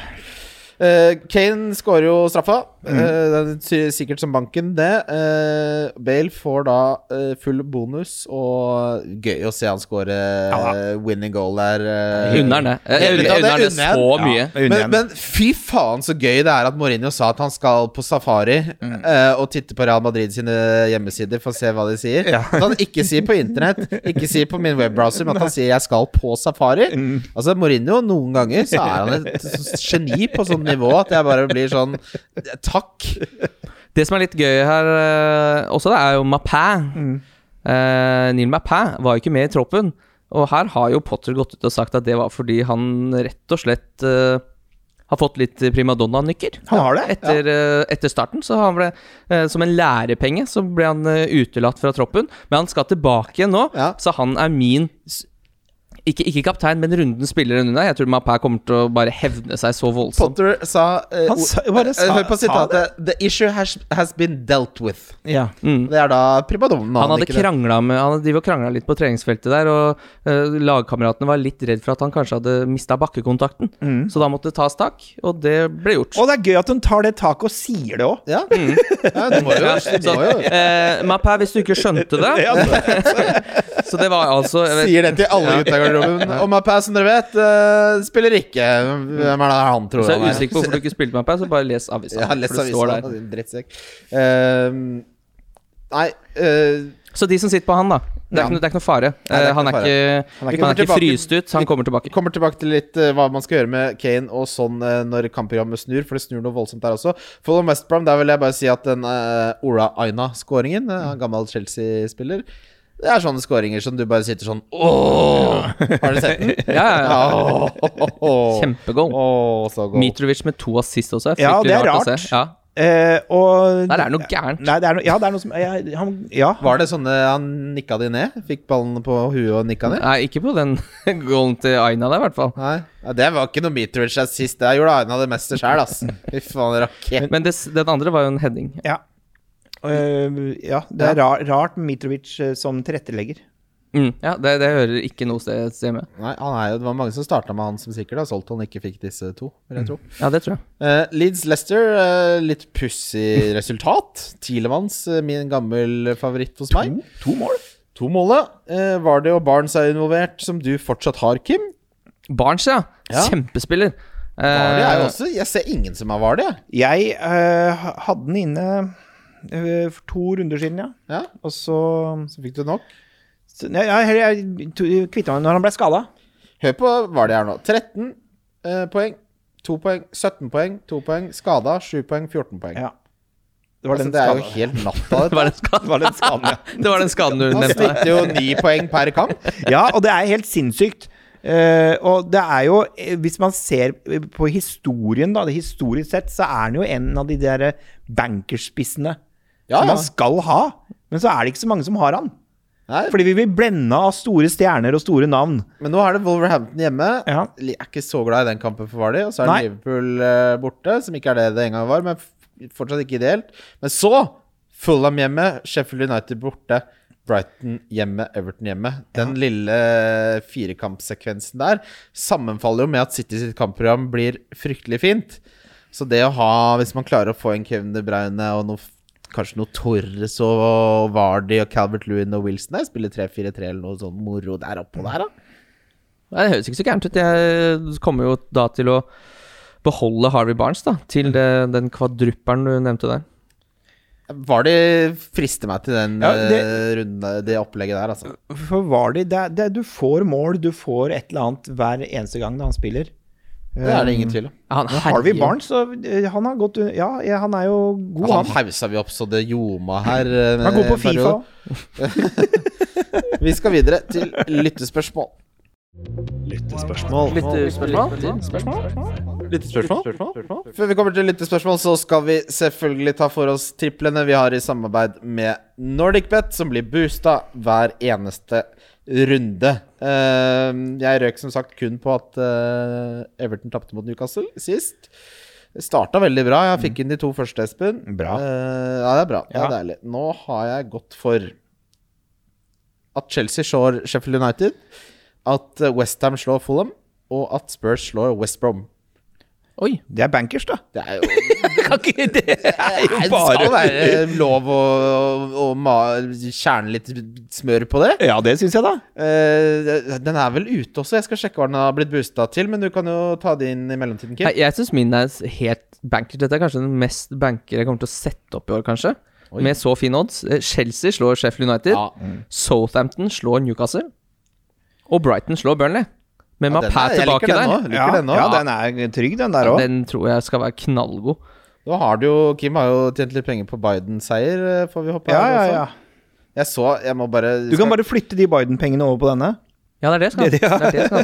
Eh, Kane skårer jo straffa.
Mm.
Eh, det er si- sikkert som banken, det. Eh, Bale får da eh, full bonus, og gøy å se han score eh, winning goal der. eh.
Unner han det. Jeg, jeg,
Vet du
jeg,
hva,
unner han det
unner jeg
så
han.
mye.
det unner jeg
Men,
han.
men fy faen så gøy det er at Mourinho sa at han skal på safari
Mm.
eh, og titte på Real Madrid sine hjemmesider for å se hva de sier.
Ja.
At han ikke sier på internett, ikke sier på min webbrowser, men at han sier 'jeg skal på safari'.
Mm.
Altså Mourinho, noen ganger så er han et sånt geni på sånn nivå at jeg bare blir sånn Takk.
Det som er litt gøy her eh, også, det er jo Mapæ.
Mm.
Eh, Neil Mapæ var jo ikke med i troppen. Og her har jo Potter gått ut og sagt at det var fordi han rett og slett eh, har fått litt primadonna-nykker.
Han har det,
Etter, eh, etter starten. Så han ble, eh, som en lærepenge, så ble han eh, utelatt fra troppen. Men han skal tilbake igjen nå,
Ja.
så han er min s- ikke, ikke kaptein, men runden spiller unna. Jeg tror Mapæ kommer til å bare hevne seg så voldsomt.
Potter sa, eh,
Sånn. Han sa- bare sa-
eh, Hør på
sa
sitatet. 'The issue has, has been dealt with'.
Ja.
Det er da primadonnaen.
Han hadde
ikke det?
krangla med Han driver og krangla litt på treningsfeltet der, og eh, lagkameratene var litt redd for at han kanskje hadde mista bakkekontakten.
Mm.
Så da måtte det tas tak, og det ble gjort.
Og det er gøy at hun tar det taket og sier det òg.
Ja. ja, du må jo,
Mm. Ja,
du
så,
må jo.
eh, Mappa, hvis du ikke skjønte det Så det var altså jeg vet,
Sier det til alle gutta i garderoben. Og Mapaz, som dere vet, eh, spiller ikke. Hvem er det han tror
Så jeg
han
er
er?
usikker på hvorfor du ikke spilte Mappa, så bare les avisa.
Ja,
for
les
det står
avisa,
der.
din drittsekk. Ehm, nei eh,
Så de som sitter på han, da. Det er, ikke, noe- det er ikke noe fare.
det er
Eh, han er
ikke noe
ikke, han
Vi
er ikke,
kommer tilbake-
fryst ut, så han kommer tilbake.
Kommer tilbake til litt eh, hva man skal gjøre med Kane og sånn eh, når kampprogrammet snur, for det snur noe voldsomt der også. Follow West Brom, der vil jeg bare si at den eh, Ola Aina-skåringen, eh, han gammel Chelsea-spiller det er sånne skåringer som du bare sitter sånn Ååå! Har du sett den?
Ja, ja, ja.
Åh,
Kjempegoal.
Åh, så god.
Mitrovic med to assist også. er
Ja, det er
fryktelig å
rart.
se. Ja.
Eh, og
Der er det noe gærent.
Nei, det er noe, ja, det er noe som ja, han, ja.
Var det sånne han nikka de ned? Fikk ballen på huet og nikka ned?
Nei, ikke på den goalen til Aina der, i hvert fall.
Nei. Ja, det var ikke noe Mitrovic der sist. Der gjorde Aina det meste sjæl, ass. Fy faen, rakett.
Men det, den andre var jo en heading.
ja. Eh, ja, det er ra- rart med Mitrovic eh, som tilrettelegger.
Mm, ja, det, det hører ikke noe sted hjemme.
Nei, han er jo, det var mange som starta med han som sikkert har solgt han ikke fikk disse to, vil jeg tro.
Ja, det tror jeg.
Eh, Leeds Leicester, eh, litt pussig resultat. Tielemanns, eh, min gammel favoritt hos meg.
To, to mål.
To målet. Eh, var det jo Barnes er involvert, som du fortsatt har, Kim?
Barnes, ja.
Ja.
Kjempespiller.
Vardy er jo
Eh,
også Jeg ser ingen som har Vardy. jeg.
Jeg eh, ha- hadde den inne eh, for to runder siden, ja.
Ja,
Og så,
så fikk du nok.
så nei, Jeg, jeg, to- kvitta meg når han ble skada.
Hør på hva det er nå. 13 eh, poeng, 2 poeng, 17 poeng, 2 poeng, skada, 7 poeng, 14 poeng.
Ja. Det var
altså,
den
det er jo
skaden.
helt natta.
det, var den
Det
skaden,
var den skaden, ja.
det var den skaden du
Han
nevnte. der.
snitter jo 9 poeng per kamp.
Ja, og det er helt sinnssykt. Eh, og det er jo, eh, hvis man ser på historien, da, det historisk sett, så er han jo en av de der eh, bankerspissene
Ja,
som
ja.
man skal ha. Men så er det ikke så mange som har han.
Nei,
Fordi vi blir blenda av store stjerner og store navn.
men nå er det Wolverhampton hjemme.
Ja.
Jeg er ikke så glad i den kampen for Vardy. Og så er det
Nei.
Liverpool eh, borte, som ikke er det det en gang var, men f- fortsatt ikke ideelt. Men så Fulham hjemme, Sheffield United borte, Brighton hjemme, Everton hjemme. Den lille eh, firekampsekvensen der sammenfaller jo med at City sitt kampprogram blir fryktelig fint. Så det å ha, hvis man klarer å få en Kevin De Bruyne og noe Kanskje noe Torres og Vardy og Calvert Lewin og Wilson der. Spille 3-4-3 eller noe sånn moro der oppå der, da.
Nei, Det høres ikke så gærent ut. Jeg kommer jo da til å beholde Harvey Barnes da, til det, den kvadrupperen du nevnte der.
Var det frister meg til den
Ja,
eh,
det-
runde, det opplegget der, altså.
For var det, det, det Du får mål, du får et eller annet hver eneste gang han spiller.
Det er det ingen tvil om.
Han
Harvey
herjer.
Barnes, så, eh, han har gått Ja, ja, han er jo god,
Han
han.
hausa vi opp så det ljoma her. eh,
Han er god
en
på Fifa.
periode. Vi skal videre til lyttespørsmål.
Lyttespørsmål.
eh,
Før vi kommer til lyttespørsmål, så skal vi selvfølgelig ta for oss triplene vi har i samarbeid med NordicBet, som blir boosta hver eneste runde. Eh, jeg røk som sagt kun på at eh, Everton tapte mot Newcastle sist. Det starta veldig bra. Jeg fikk inn de to første, Espen.
Bra.
Eh, ja, det er bra. Det er
Ja.
deilig. Nå har jeg gått for at Chelsea slår Sheffield United, at Westham slår Fulham, og at Spurs slår West Brom.
Oi.
Det er bankers, da.
Det er jo
Kan ikke det er jo
det
bare
skal være lov å, å, å ma- kjerne litt smør på det.
Ja, det syns jeg, da.
Eh, den er vel ute også. Jeg skal sjekke hva den har blitt boosta til, men du kan jo ta det inn i mellomtiden, Kim.
Nei, Jeg syns min er s- helt banker. Dette er kanskje den mest banker jeg kommer til å sette opp i år, kanskje. Med så fine odds. Eh, Chelsea slår Sheffield United.
Ja.
Southampton slår Newcastle. Og Brighton slår Burnley. Med
Ja, den
Mapæ
er- jeg liker
tilbake
den
der.
nå. Liker
ja,
den nå.
ja, den er trygg, den der òg.
Den tror jeg skal være knallgod.
Nå har du jo Kim har jo tjent litt penger på Biden-seier, eh, får vi håpe.
Ja,
her
ja,
også.
ja.
Jeg så Jeg må bare
Du kan bare flytte de Biden-pengene over på denne.
Ja, det er det jeg skal. Det er det jeg skal.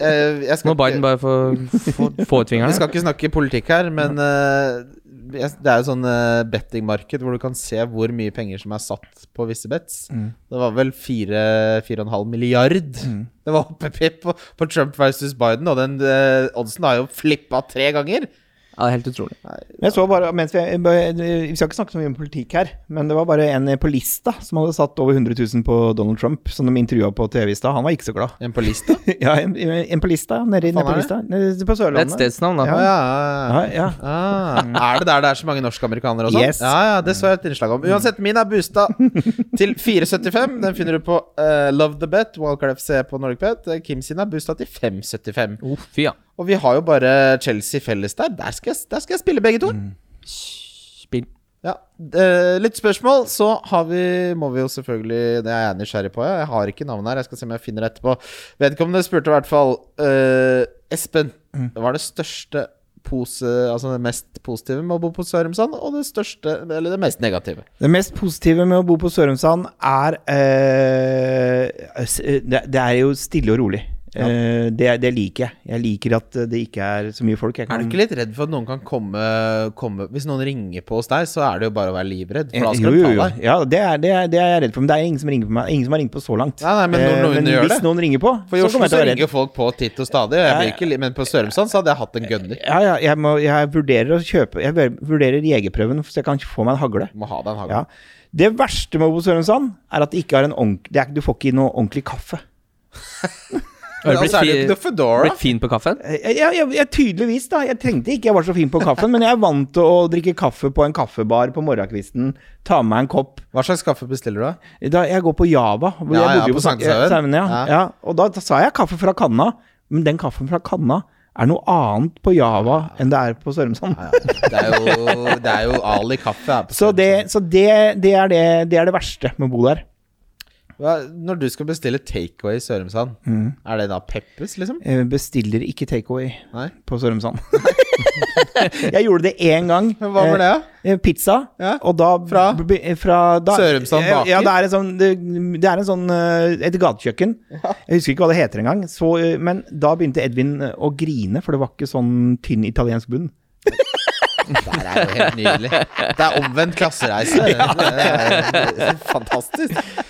eh, jeg skal
Må Biden
ikke-
bare få, få, få ut
Vi skal
fingrene.
ikke snakke politikk her, men eh, jeg- det er jo sånn eh, bettingmarked hvor du kan se hvor mye penger som er satt på visse bets. Det var vel 4-4,5 milliard det var oppe pip på, på Trump versus Biden, og den eh, oddsen har jo flippa tre ganger.
Ja, det er helt utrolig.
Men Jeg så bare, mens vi, vi skal ikke snakke så mye om politikk her, men det var bare en på lista som hadde satt over 100 000 på Donald Trump, som de intervjua på TV i stad. Han var ikke så glad.
En på lista.
Ja, en, en på lista, nede,
faen
nede på
er det?
lista. Nede på
Det er et
Sørlandet.
stedsnavn, da.
Ah, Ja, ja, ja.
Ja, ja.
Ah, er det der det er så mange norskamerikanere og sånn?
Yes.
Ja, ja, det så jeg et innslag om. Uansett, min er boosta til 4,75. Den finner du på eh, Love the Bet, Wildcard FC på NordicBet. Eh, Kim sin er boosta til 5,75.
Å, fy ja.
Og vi har jo bare Chelsea felles der. Der skal jeg, der skal jeg spille begge to.
Spill.
Ja. Eh, litt spørsmål, så har vi, må vi jo selvfølgelig Det er jeg nysgjerrig på. Jeg, jeg har ikke navnet her. Jeg skal se om jeg finner det etterpå. Vedkommende spurte i hvert fall eh, Espen. Hva er det største pose, altså det mest positive med å bo på Sørumsand, og det største, eller det mest negative?
Det mest positive med å bo på Sørumsand er eh, s- det, det er jo stille og rolig. Eh, det, det liker jeg. Jeg liker at det ikke er så mye folk.
Er
Jeg
du
kan,
ikke litt redd for at noen kan komme, komme Hvis noen ringer på hos deg, så er det jo bare å være livredd,
Eh,
for da skal de ta deg.
Ja, det er, det, er, det er jeg redd for. Men det er ingen som, ringer på meg. Ingen som har ringt på så langt.
Nei, nei, men når
Eh,
noen gjør
hvis
det-
noen ringer på,
For i
så
Oslo
kommer jeg
så
til å være
ringer
redd.
jo folk på titt og stadig, og jeg Eh,
Ja,
blir
ja.
ikke, li- men på Sørumsand så hadde jeg hatt en gønner.
Ja, ja, jeg, må, jeg vurderer å kjøpe Jeg vurderer jegerprøven, så jeg kan få meg en hagle.
Må ha deg en hagle.
Ja. Det verste med å bo på Sørumsand er at det ikke har en ordentlig, det er, ikke- du får ikke noe ordentlig kaffe.
Har du
Men altså er det jo ikke noe
blitt, fi,
Foodora.
blitt fin på kaffen?
Jeg, jeg, jeg, jeg tydeligvis, da. Jeg trengte ikke, jeg var så fin på kaffen, men jeg er vant til å drikke kaffe på en kaffebar på morgenkvisten. Ta med meg en kopp.
Hva slags kaffe bestiller du, da?
Da jeg går på Java, hvor
Ja, ja,
jeg bodde jo
på
på Sankt-
Sankthanshaugen.
Sankthanshaugen, ja.
Ja.
ja. Og da, da sa jeg kaffe fra kanna, men den kaffen fra kanna er noe annet på Java enn det er på Sørumsand.
Det er jo, det er jo Ali kaffe her. på
Så, det, så det, det, er det, det er det verste med å bo der.
Sørumsand. Hva- Når du skal bestille takeaway i Sørumsand,
Mm.
er det da Peppes, liksom?
Jeg Eh, bestiller ikke takeaway
Nei.
på Sørumsand. jeg gjorde det én gang.
Hva var det, da?
Eh, Pizza.
Ja.
Og da
Fra?
b- b- fra da,
Sørumsand
Eh, Ja,
baker?
det er en sånn, det, det er en sånn eh, et gatekjøkken. Jeg husker ikke hva det heter engang. Så, eh, Men da begynte Edvin eh, å grine, for det var ikke sånn tynn italiensk bunn.
Eh, Der er jo helt nydelig. Det er omvendt klassereise. Det er fantastisk.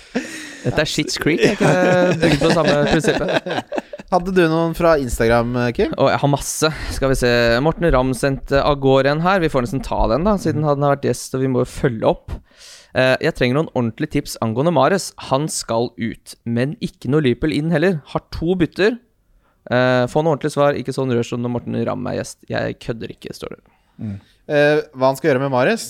Dette er Shits Creek, er ikke det bygd på samme prinsippet?
Hadde du noen fra Instagram, Kim?
Og jeg har masse. Skal vi se. Morten Ramm sendte av gårde en her. Vi får nesten ta den, da, siden han har vært gjest, og vi må jo følge opp. Eh, jeg trenger noen ordentlige tips angående Mares. Han skal ut, men ikke noe Liverpool inn heller. Har to bytter. Eh, få noe ordentlig svar, ikke sånn rør som når Morten Ramm er gjest. Jeg kødder ikke, står det.
Eh, hva han skal gjøre med Marius?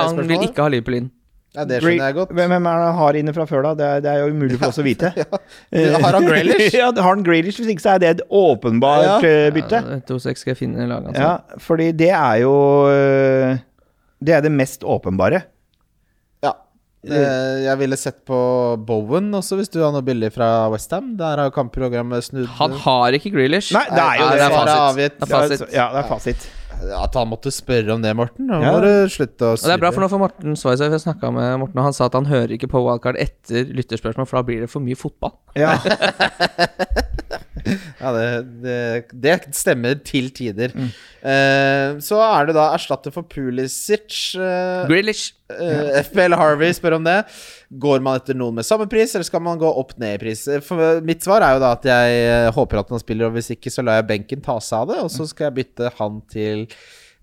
Er det
han vil
spørsmålet?
ikke ha Liverpool inn.
Ja, det skjønner jeg godt.
Hvem hvem er det han har inne fra før, da? Det er, det er jo umulig for oss å vite. Eh,
Har han Grealish?
ja, har han Grealish? Hvis ikke så er det et
Ja.
åpenbart eh, bytte.
Ja, to seks skal jeg finne laget hans.
Ja, fordi det er jo eh, Det er det mest åpenbare.
Ja. Eh, jeg ville sett på Bowen også, hvis du har noe billig fra Westham. Der har kampprogrammet snudd
Han har ikke Grealish.
Nei, det er jo
Nei,
det.
det er
Svaret
fasit.
avgitt.
Det er fasit.
Ja, det er fasit.
At han måtte spørre om det, Morten. Da
Ja.
må du slutte å
Og det er bra, for
surre.
nå får Morten svare seg. for Jeg snakket med Morten, og han sa at han hører ikke på wildcard etter lytterspørsmål, for da blir det for mye fotball.
Ja.
Ja, det, det, det stemmer til tider.
Mm.
Eh, så er det da erstatter for Pulisic. Uh,
Grealish.
FBL Harvey spør om det. Går man etter noen med samme pris, eller skal man gå opp ned i pris? Eh, For mitt svar er jo da at jeg eh, håper at han spiller, og hvis ikke så lar jeg benken ta seg av det,
Mm.
og så skal jeg bytte han til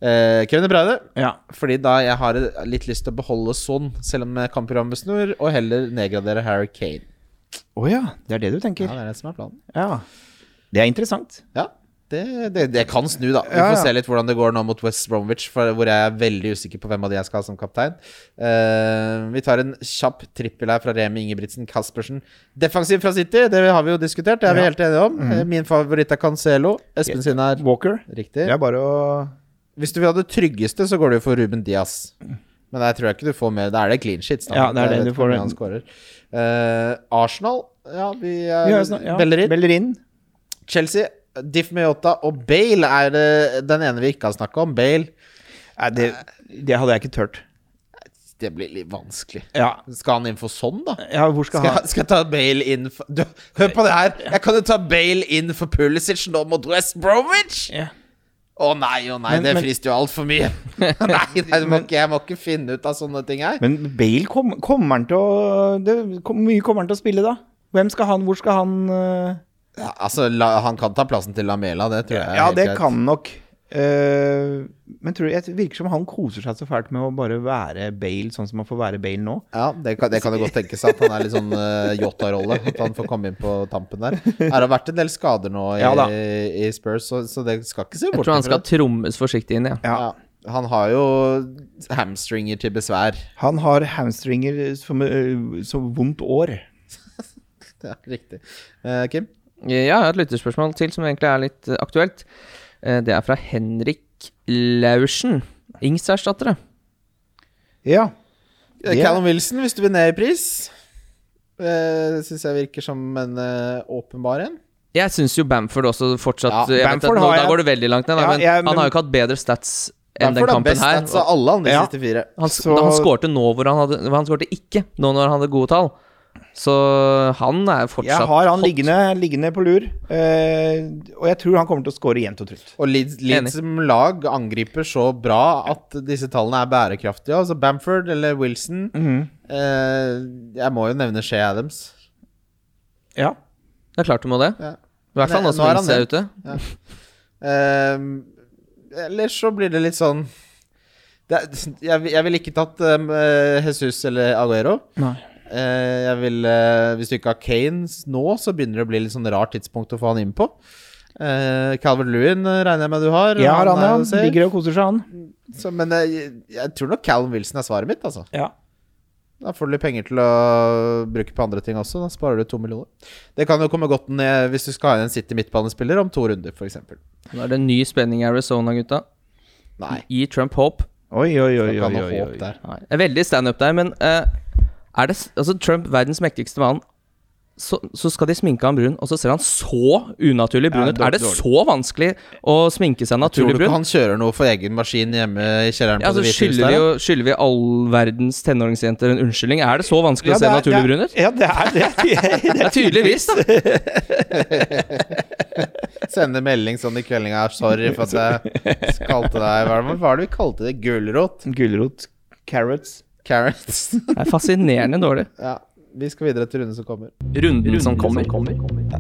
uh, Kevin De Bruyne.
ja.
Fordi da jeg har litt lyst til å beholde Son, selv om kampprogrammet snur, og heller nedgradere Harry Kane.
Å ja, det er det du tenker?
Ja, det er det som er planen.
Ja. Det er interessant.
Ja. Det, det, det kan snu, da. Vi
Ja,
får
ja.
se litt hvordan det går nå mot West Bromwich, for, hvor jeg er veldig usikker på hvem av de jeg skal ha som kaptein. Eh, vi tar en kjapp trippel her fra Remi Ingebrigtsen Caspersen. Defensiv fra City, det har vi jo diskutert, det er vi
Ja. Mm.
helt enige om. Eh, Min favoritt er Cancelo. Espen sin er
Walker.
riktig.
Det er bare å
Hvis du vil ha det tryggeste, så går du jo for Ruben Diaz. Men jeg tror ikke du får mer. Da er det clean shit. da.
Ja, det er
Jeg
det
vet
du
ikke
får.
hvor mye Han scorer. Eh, Arsenal, ja, vi er
Ja, sånn- ja.
Bellerin.
Bellerin.
Chelsea, Diff Mejota og Bale er eh, den ene vi ikke har snakka om. Bale.
Nei, det, det hadde jeg ikke turt.
Det blir litt vanskelig.
Ja,
Skal han inn for sånn, da?
ja hvor skal
Skal
han
jeg, skal jeg ta Bale inn for du, Hør på det her! Jeg kan jo ta Bale inn for Pulisic nå mot West Bromwich!
Ja.
Å nei, å nei,
Men-
det
men-
frister jo altfor mye. nei, nei du må ikke, jeg må ikke finne ut av sånne ting her.
Men Bale, kom, kommer han til å det, Hvor mye kommer han til å spille, da? Hvem skal han Hvor skal han øh?
Ja, altså, la, han kan ta plassen til Lamela, det tror jeg. er
Ja,
helt
det
greit.
kan han nok. Eh, men tror jeg, det virker som han koser seg så fælt med å bare være Bale sånn som han får være Bale nå.
Ja, det kan, det kan jo godt tenkes at han er litt sånn uh, Jota-rolle. At han får komme inn på tampen der. Det har vært en del skader nå i,
Ja da.
i Spurs, så, så det skal ikke se
Jeg
bort
tror han skal
det.
trommes forsiktig inn, jeg.
Ja.
Ja, han har jo hamstringer til besvær.
Han har hamstringer som øh, som vondt år.
Ja, riktig. Eh, Kim?
Ja, jeg har et lytterspørsmål til som egentlig er litt eh, aktuelt. Eh, Det er fra Henrik Laursen. Ings-erstattere.
Ja.
Eh,
Det-
Callum Wilson, hvis du vil ned i pris. Uh, Syns jeg virker som en eh, åpenbar en.
Jeg syns jo Bamford også
Ja,
fortsatt jeg vet at
Bamford
nå,
har
Da
jeg-
går du veldig langt ned, da,
Ja,
men
jeg- men-
han har jo ikke hatt bedre stats enn den
Derfor er
kampen
best
her.
stats av alle andre
Ja.
siste fire.
Han,
altså. Så-
han skårte nå hvor han hadde Han skårte ikke nå når han hadde gode tall. Så han er fortsatt
Jeg har han
hot.
liggende, liggende på lur, eh, og jeg tror han kommer til å score jevnt og trutt.
Og Leeds, Leeds som lag angriper så bra at disse tallene er bærekraftige. Altså Bamford eller Wilson
Mhm.
eh, Jeg må jo nevne Shea Adams.
Ja.
Det er klart du må det.
Ja.
I hvert fall
Nei,
nå som
nå er
Ings
han
er ute.
Eh, ellers så blir det litt sånn det er, jeg, jeg ville ikke tatt eh, Jesus eller Aguero.
Nei.
Eh, jeg vil, eh, hvis du ikke har Kanes nå, så begynner det å bli litt sånn rart tidspunkt å få han inn på. Eh, Calvert Lewin eh, regner jeg med du har.
Jeg har han, eh,
er
ja.
jo safe.
Ligger og koser seg, han.
Så, men eh, jeg, jeg tror nok Callum Wilson er svaret mitt, altså.
Ja.
Da får du litt penger til å bruke på andre ting også. Da sparer du to millioner. Det kan jo komme godt ned hvis du skal ha en City midtbanespiller om to runder, f.eks.
Nå er det en ny spenning i Arizona, gutta.
Nei.
Gi Trump håp.
Oi, oi, oi.
Det
oi,
kan ha
oi,
håp
oi.
der.
Nei, jeg er veldig standup der, men eh, er det s- Altså, Trump, verdens mektigste mann, så, så skal de sminke han brun, og så ser han så unaturlig brun
Ja,
ut.
dårlig,
Er det
dårlig.
så vanskelig å sminke seg
Tror du
naturlig
ikke
brun?
han kjører noe for egen maskin hjemme i kjelleren
Ja,
på
altså,
Det hvite hus
skylder,
der?
vi
da?
jo, skylder vi all verdens tenåringsjenter en unnskyldning? Er det så vanskelig å
Ja,
se
det er-
naturlig brun ut?
Ja, det er det.
Ja, tydeligvis, da.
Sende melding sånn i kveldinga. Sorry for at jeg kalte deg Hva var det vi kalte det? Gulrot?
Gulrot. Carrots.
Carrots?
Det er fascinerende dårlig.
ja. Vi skal videre til runden som kommer.
Runden, som kommer.
Ja,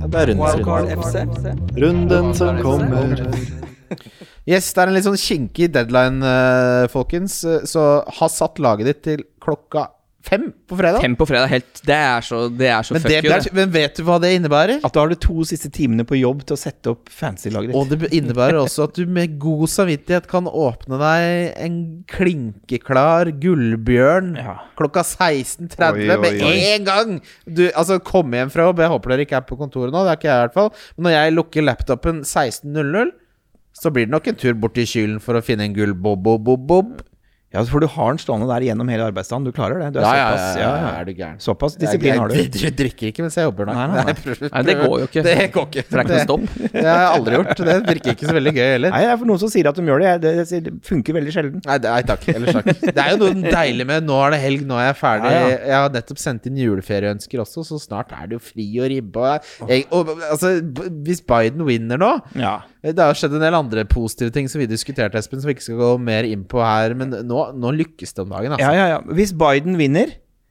det er rundens runde.
Runden som kommer.
Yes, det er en litt sånn kinkig deadline, eh, folkens. Eh, Så ha satt laget ditt til klokka fem på fredag.
Fem på fredag, helt Det er så, det er så
Men,
fuck
det,
you,
det er, men vet du hva det innebærer?
At da har du to siste timene på jobb til å sette opp fancy-laget ditt.
Og det innebærer også at du med god samvittighet kan åpne deg en klinkeklar gullbjørn
Ja.
klokka 16.30
Oi, oi,
med
oi.
en gang! Du, altså, kom hjem fra jobb. Jeg håper dere ikke er på kontoret nå, det er ikke jeg i hvert fall. Men når jeg lukker laptopen 16.00, så blir det nok en tur bort til Kylen for å finne en gullbob-bob-bob.
Ja, for du har den stående der gjennom hele arbeidsdagen. Du klarer det. Du er
Ja, ja,
såpass,
ja, ja,
ja,
er du gæren.
såpass disiplin har du.
Jeg, jeg, jeg drikker ikke mens jeg jobber, nei.
Nei, nei, nei.
Jeg prøver-
Nei, det går jo ikke.
Det går ikke.
For det er ikke noe stopp.
Det har jeg aldri gjort. Det virker ikke så veldig gøy heller.
Nei, det er for noen som sier at de gjør det. Jeg- Det, det, det funker veldig sjelden.
Nei, det- nei takk. Ellers takk. Det er jo noe deilig med nå er det helg, nå er jeg ferdig.
Ja, ja.
Jeg har nettopp sendt inn juleferieønsker også, så snart er det jo fri og ribbe. Og jeg, og, altså, b- hvis Biden vinner nå
Ja.
Det har skjedd en del andre positive ting som vi diskuterte, Espen, som vi ikke skal gå mer inn på her, men nå, nå lykkes det om dagen, altså.
ja, ja, ja. Hvis Biden vinner,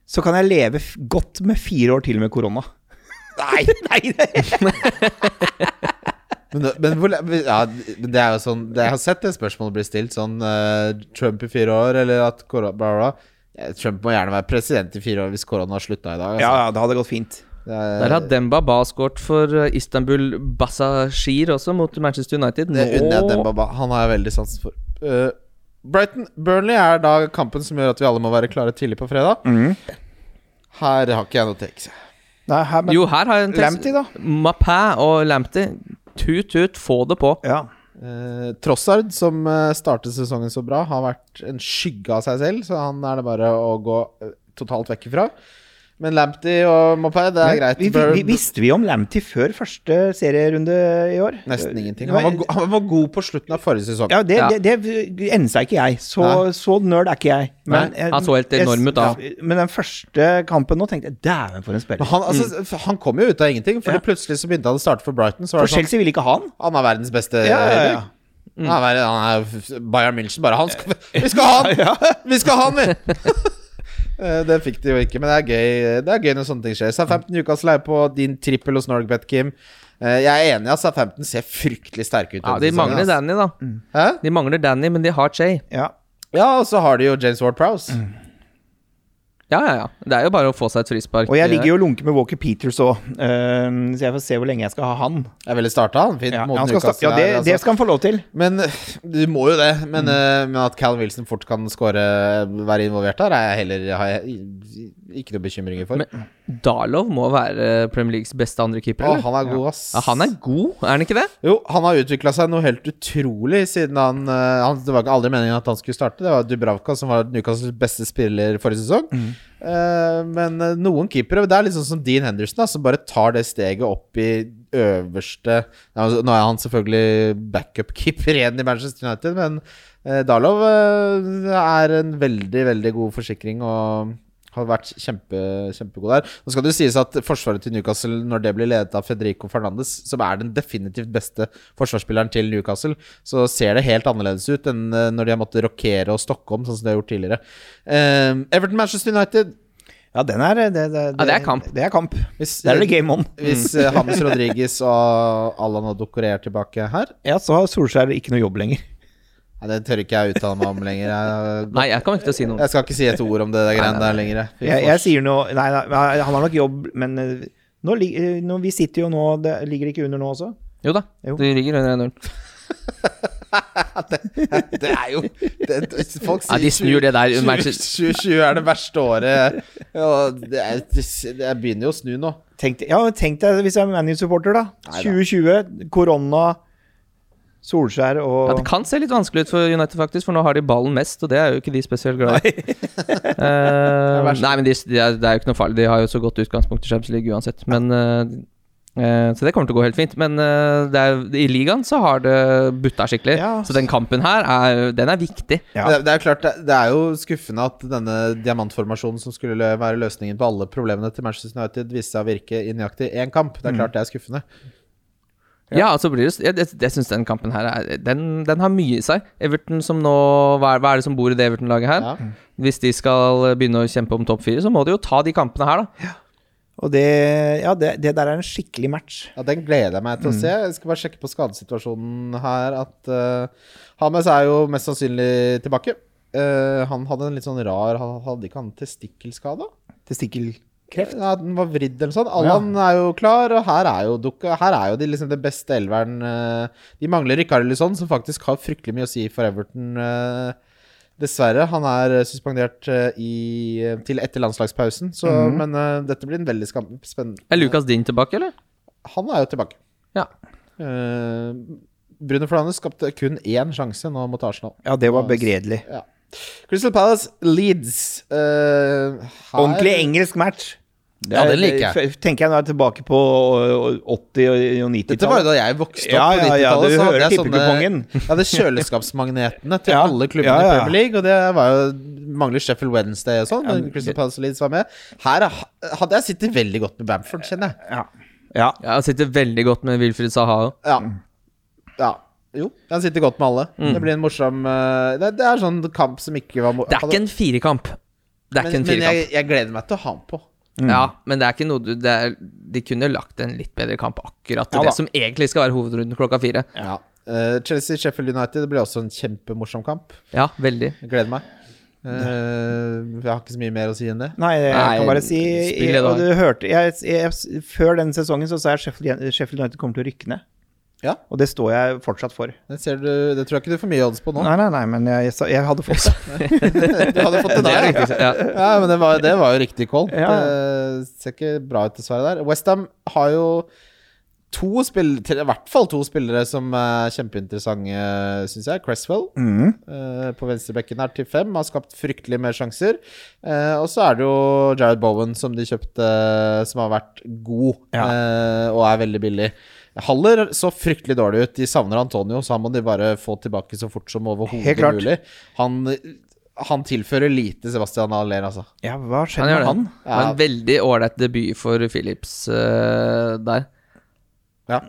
så kan jeg leve f godt med fire år til med korona. Nei, nei,
Men, men, hvor, ja, men det er jo sånn det, Jeg har sett det spørsmålet bli stilt sånn eh, Trump i fire år, eller at korona bla, bla. bla. Eh, Trump må gjerne være president i fire år hvis korona har slutta i dag.
Ja,
Altså.
ja, det hadde gått fint.
Der har Demba Ba skåret for eh, Istanbul Basashir også, mot Manchester United.
Det unner jeg
Nå-
Demba Ba. Han har jeg veldig sansen for. Eh, Brighton Burnley er da kampen som gjør at vi alle må være klare tidlig på fredag.
Mm.
Her har ikke jeg noe takes.
Nei, her, men,
Jo, her har jeg en tekst.
Lamptey, da?
Mapæ og Lamptey. Tut, tut, få det på.
Ja.
Eh, Trossard, som eh, startet sesongen så bra, har vært en skygge av seg selv, så han er det bare å gå eh, totalt vekk ifra. Men Lamptey og Mopay, det er
Men
greit.
Vi, vi, vi, visste vi om Lamptey før første serierunde i år?
Nesten ingenting. Han var, go han var god på slutten av forrige sesong.
Ja, det,
Ja.
det, det ensa ikke jeg. Så,
Nei.
så nerd er ikke jeg.
Nei, han så helt enorm ut da.
Ja, Men den første kampen nå tenkte jeg dæven, for en
Men
spiller.
han, altså, han kom jo ut av ingenting, for
Mm. Ja.
plutselig så begynte han å starte for Brighton. Så var
For
det sånn,
Chelsea ville ikke ha han.
han er verdens beste
Ja, Mm. ja, ja.
høyrebekk. Han er, han er Bayern München, bare han skal, Vi skal ha han! Vi skal ha han, vi! Eh, det fikk de jo ikke, men det er gøy Det er gøy når sånne ting skjer. Southampton Newcastle er på din trippel hos Norgbet, Kim. Eh, jeg er enig i at Southampton ser fryktelig sterke ut.
Ja,
denne
De
sesongen,
mangler
altså.
Danny, da.
Hæ?
De mangler Danny, men de har Che.
Ja.
Ja, og så har de jo James Ward Prowse.
Mm.
Ja, ja, ja. Det er jo bare å få seg et frispark.
Og jeg ligger jo og lunker med Walker Peters òg, så jeg får se hvor lenge jeg skal ha han.
Jeg ville starta han fint
Ja,
mot
han skal sta-
Newcastle.
ja det,
her, altså.
det Mm. skal han få lov til.
Men øh, du må jo det. Men, øh, men at Cal Wilson fort kan skåre, være involvert der, er jeg heller, har jeg ikke noen bekymringer for.
Men Eh, Darlow må være eh, Premier Leagues beste andrekeeper.
Å,
eller?
han er god, ass.
Ja, han er god, er han ikke det?
Jo, han har utvikla seg noe helt utrolig siden han, øh, han Det var ikke aldri meningen at han skulle starte. Det var Dubravka som var Newcastles beste spiller forrige sesong.
Mm.
Eh, men øh, noen keepere Det er litt sånn som Dean Henderson, da, som bare tar det steget opp i øverste Nei, altså, Nå er han selvfølgelig backup-keeper igjen i Manchester United, men eh, Darlow eh, er en veldig, veldig god forsikring og har vært kjempe, kjempegod der. Nå skal det jo sies at forsvaret til Newcastle, når det blir ledet av Federico Fernandes, som er den definitivt beste forsvarsspilleren til Newcastle, så ser det helt annerledes ut enn eh, når de har måttet rokere og stokke om, sånn som de har gjort tidligere. Eh, Everton Manchester United
Ja, den er det, det,
Ja, det er kamp.
Det er kamp.
Hvis,
Der er det game on.
hvis eh, James Rodriguez og Allan og Dokoré er tilbake her
Ja, så har Solskjær ikke noe jobb lenger.
Nei, det tør ikke jeg uttale meg om lenger. Jeg,
Nei, jeg kommer ikke til å si noe.
jeg skal ikke si et ord om det der greiene der lenger. jeg. Fy
Jeg,
faen.
jeg sier noe Nei, nei, nei, han har nok jobb, men eh, nå, lig- eh, nå, vi sitter jo nå det, Ligger det ikke under nå også?
Jo da,
Jo.
de ligger under 1-0.
Det er jo det, det- Folk sier
Ja, de snur det der.
2020 20 er det verste året. Ja, det er, det, jeg begynner jo å snu nå.
Tenk, deg- ja, tenk deg hvis jeg er ManU-supporter, da.
Neida.
2020, korona, Solskjær
Ja, det
og
kan se litt vanskelig ut for United, faktisk, for nå har de ballen mest, og det er jo ikke de spesielt glad i. Eh,
verst.
nei, men de, de er, det er jo ikke noe farlig. De har jo så godt utgangspunkt i Champions League uansett. Men, eh, eh, så det kommer til å gå helt fint. Men eh, det er, i ligaen så har det butta skikkelig.
Ja.
Så den kampen her, er, den er viktig.
Ja.
Det, det er jo klart, det, det er jo skuffende at denne diamantformasjonen som skulle lø- være løsningen på alle problemene til Manchester United, viste seg å virke i nøyaktig én kamp. Det er klart det er skuffende.
Ja, altså blir det Jeg, jeg, jeg syns den kampen her er, den, den har mye i seg. Everton som nå Hva er, hva er det som bor i det Everton-laget her?
Ja.
Hvis de skal begynne å kjempe om topp fire, så må de jo ta de kampene her, da.
Og det Ja, det, det der er en skikkelig match.
Ja, Den gleder jeg meg til å se. Jeg skal bare sjekke på skadesituasjonen her at uh, Hames er jo mest sannsynlig tilbake. Eh, han hadde en litt sånn rar han- Hadde ikke han testikkelskade?
Testikkelkreft.
Ja, den var vridd eller noe sånt. Allan er jo klar, og her er jo dukka Her er jo de liksom det beste elveren eh, De mangler Rikard Lisson, som faktisk har fryktelig mye å si for Everton. eh, Dessverre. Han er eh, suspendert eh, i, til etter landslagspausen, så, men eh, dette blir en veldig skam- spennende
Er Lucas Din tilbake, eller?
Han er jo tilbake.
Ja.
Eh, Bruno Flanes skapte kun én sjanse nå mot Arsenal.
Ja, det var begredelig.
Crystal Palace Leeds. eh, her-
Ordentlig engelsk match. Eh,
Ja, den liker jeg.
F- Tenker jeg nå er jeg tilbake på øh, 80- og- og 90-tallet.
Dette var jo da jeg vokste opp
Ja, ja, ja,
på 90-tallet.
du
så hadde
hører
jeg
tippekupongen.
sånne- Jeg hadde kjøleskapsmagnetene til
Ja,
alle klubbene
ja,
i
ja.
Premier League. Og det var jo mangler Sheffield Wednesday og sånn. men Crystal Palace Leeds var med. Her er, hadde jeg sittet veldig godt med Bamford, kjenner jeg.
Ja. ja.
Ja, Jeg sitter veldig godt med Wilfried Saha òg.
Ja.
Mm.
ja. Jo, han sitter godt med alle. Det blir en morsom eh, det, det er sånn kamp som ikke var mo-
Det er ikke en firekamp. Det er ikke
Men,
en
men
firekamp.
jeg, Mm. jeg gleder meg til å ha han på.
Ja, men det er ikke noe du det er, De kunne lagt en litt bedre kamp akkurat til
Ja da.
det som egentlig skal være hovedrunden klokka fire.
Eh, Ja. Chelsea-Sheffield United det blir også en kjempemorsom kamp.
Ja, veldig.
Jeg gleder meg. Eh, jeg har ikke så mye mer å si enn det.
Nei, jeg
Nei,
kan bare si
spill i dag.
og du hørte, jeg, jeg, Før den sesongen så sa jeg Sheffield, Sheffield United kommer til å rykke ned.
Ja.
Og det står jeg fortsatt for.
Det, ser du, det tror jeg ikke du får mye odds på nå.
Nei, nei, nei, men jeg, jeg, sa- jeg hadde fått det.
Du hadde fått det
Det er
der.
riktig. Ja.
Ja, men det var, det var jo riktig call.
Ja.
Det ser ikke bra ut, dessverre. der Westham har jo to spill, tre- i hvert fall to spillere som er kjempeinteressante, syns jeg. Cresswell eh, på venstrebekken her til fem har skapt fryktelig mer sjanser. Eh, og så er det jo Jared Bowen som de kjøpte, eh, som har vært god eh, og er veldig billig. Haller så fryktelig dårlig ut. De savner Antonio, så han må de bare få tilbake så fort som
Helt
overhodet
klart.
mulig. Han, han tilfører lite Sebastian Haller, altså.
Ja, hva
Han
skjedde
gjør
med
det.
han?
Det var En veldig ålreit debut for Philips eh, der.
Ja.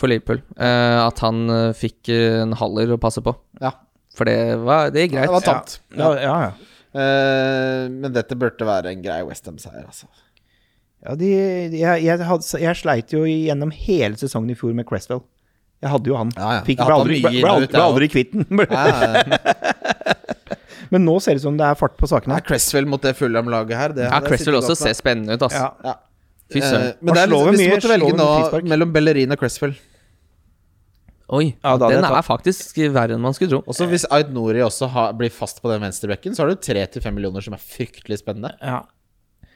For Liverpool. Eh, at han eh, fikk eh, en haller å passe på.
Ja.
For det, var, det gikk
Det
greit.
var tamt.
Ja, ja, ja.
Eh, men dette burde være en grei Westham-seier, altså.
Ja, de, de- jeg, jeg, hadde, jeg sleit jo gjennom hele sesongen i fjor med Cresswell. Jeg hadde jo han.
Ja, ja.
Fikk,
Jeg
ble,
hadde
aldri,
mye
ble, ble,
inn og
aldri,
ut,
ble aldri
jeg
kvitt den.
Ja, ja.
Men nå ser det ut som det er fart på sakene.
Nei, Cresswell mot det Fulham-laget her det
Ja,
hadde jeg sittet
Cresswell også
godt med.
ser spennende ut, ass.
Ja.
ja.
Fy
Eh,
søren.
Men
Og
det er
slår
liksom, hvis du
vi mye,
måtte
slår vi
velge
med
nå
frispark?
mellom Bellerin og Cresswell
Oi,
Ja, da hadde
den
jeg
er faktisk verre enn man skulle tro.
Eh.
Også hvis Ait Nouri også har, blir fast på den venstrebekken, så har du tre til fem millioner som er fryktelig spennende.
Ja.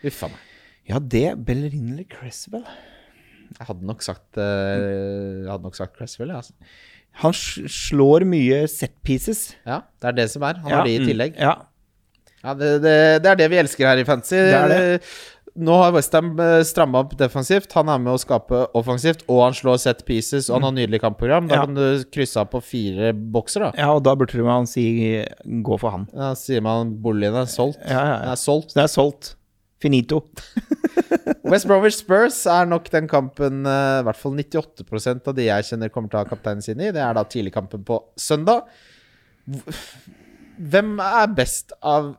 Uff a meg.
ja, det Bellerin eller Cresswell
Jeg hadde nok sagt, eh, jeg hadde nok sagt Cresswell, jeg, altså.
Han sl- slår mye set pieces.
Ja, det er det som er. Han
Ja. mm.
har
Mm.
de i tillegg.
Ja.
Ja, det, det, det er det vi elsker her i Fantasy.
Det er
Nå har Westham stramma opp defensivt. Han er med å skape offensivt, og han slår set pieces, og han har nydelig kampprogram. Da
Mm. Ja.
kan du krysse av på fire bokser, da.
ja, og da burde man si gå for han.
Da sier man boligen er solgt.
Ja, ja,
Den er
ja.
solgt.
Så det er solgt. Finito.
West Bromwich Spurs er nok den kampen eh, i hvert fall 98 av de jeg kjenner kommer til å ha kapteinen sin i. Det er da tidligkampen på søndag. Hv- Hvem er best av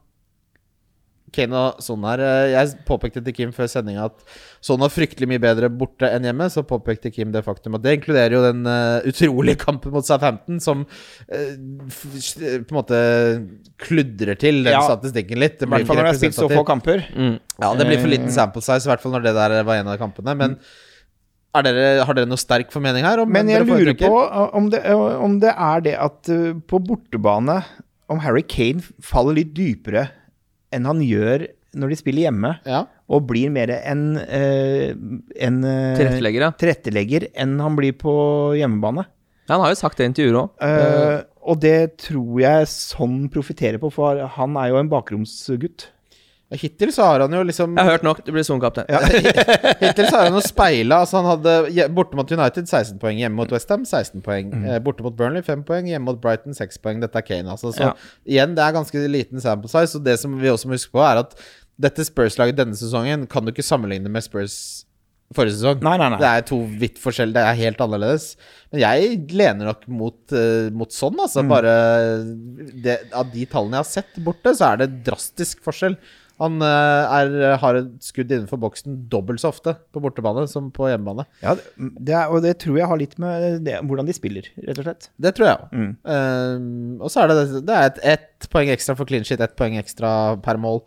Kane og Son her? Eh, Jeg påpekte til Kim før sendinga at Son var fryktelig mye bedre borte enn hjemme. Så påpekte Kim det faktum at det inkluderer jo den eh, utrolige kampen mot Southampton, som eh, f på en måte kludrer til den
Ja.
statistikken litt. Det
I
blir
hvert fall
ikke
når det er spilt så
representativt.
få kamper.
Mm.
Ja, det blir for liten sample size, i hvert fall når det der var en av kampene. Men er dere, har dere noe sterk formening her? Om
Men
dere
jeg lurer
foretrekker?
på uh, om det, uh, om det er det at uh, på bortebane Om Harry Kane faller litt dypere enn han gjør når de spiller hjemme,
Ja.
og blir mer en, uh, en uh,
Tilrettelegger, ja.
tilrettelegger enn han blir på hjemmebane.
Ja, Han har jo sagt det i intervjuet òg.
Uh, og det tror jeg sånn profitterer på, for han er jo en bakromsgutt.
Hittil så har han jo liksom
Jeg har hørt nok, du blir sonkaptein. Ja.
Hittil så har han jo speila. Altså han hadde hje- borte mot United 16 poeng, hjemme mot Westham 16 poeng. eh, Borte mot Burnley 5 poeng, hjemme mot Brighton 6 poeng. Dette er Kane, altså. Så
Ja.
igjen, det er ganske liten sample size. Og det som vi også må huske på, er at dette Spurs-laget denne sesongen kan du ikke sammenligne med Spurs forrige sesong.
Nei, nei, nei.
Det er to vidt forskjellige, det er helt annerledes. Men jeg lener nok mot, eh, mot sånn, altså.
Mm.
Bare det, Av de tallene jeg har sett borte, så er det drastisk forskjell. Han eh, er, har et skudd innenfor boksen dobbelt så ofte på bortebane som på hjemmebane.
Ja, det, det er, og det tror jeg har litt med det, hvordan de spiller, rett og slett.
Det tror jeg òg.
Mm.
og så er det, det er et, ett poeng ekstra for clean shit, ett poeng ekstra per mål.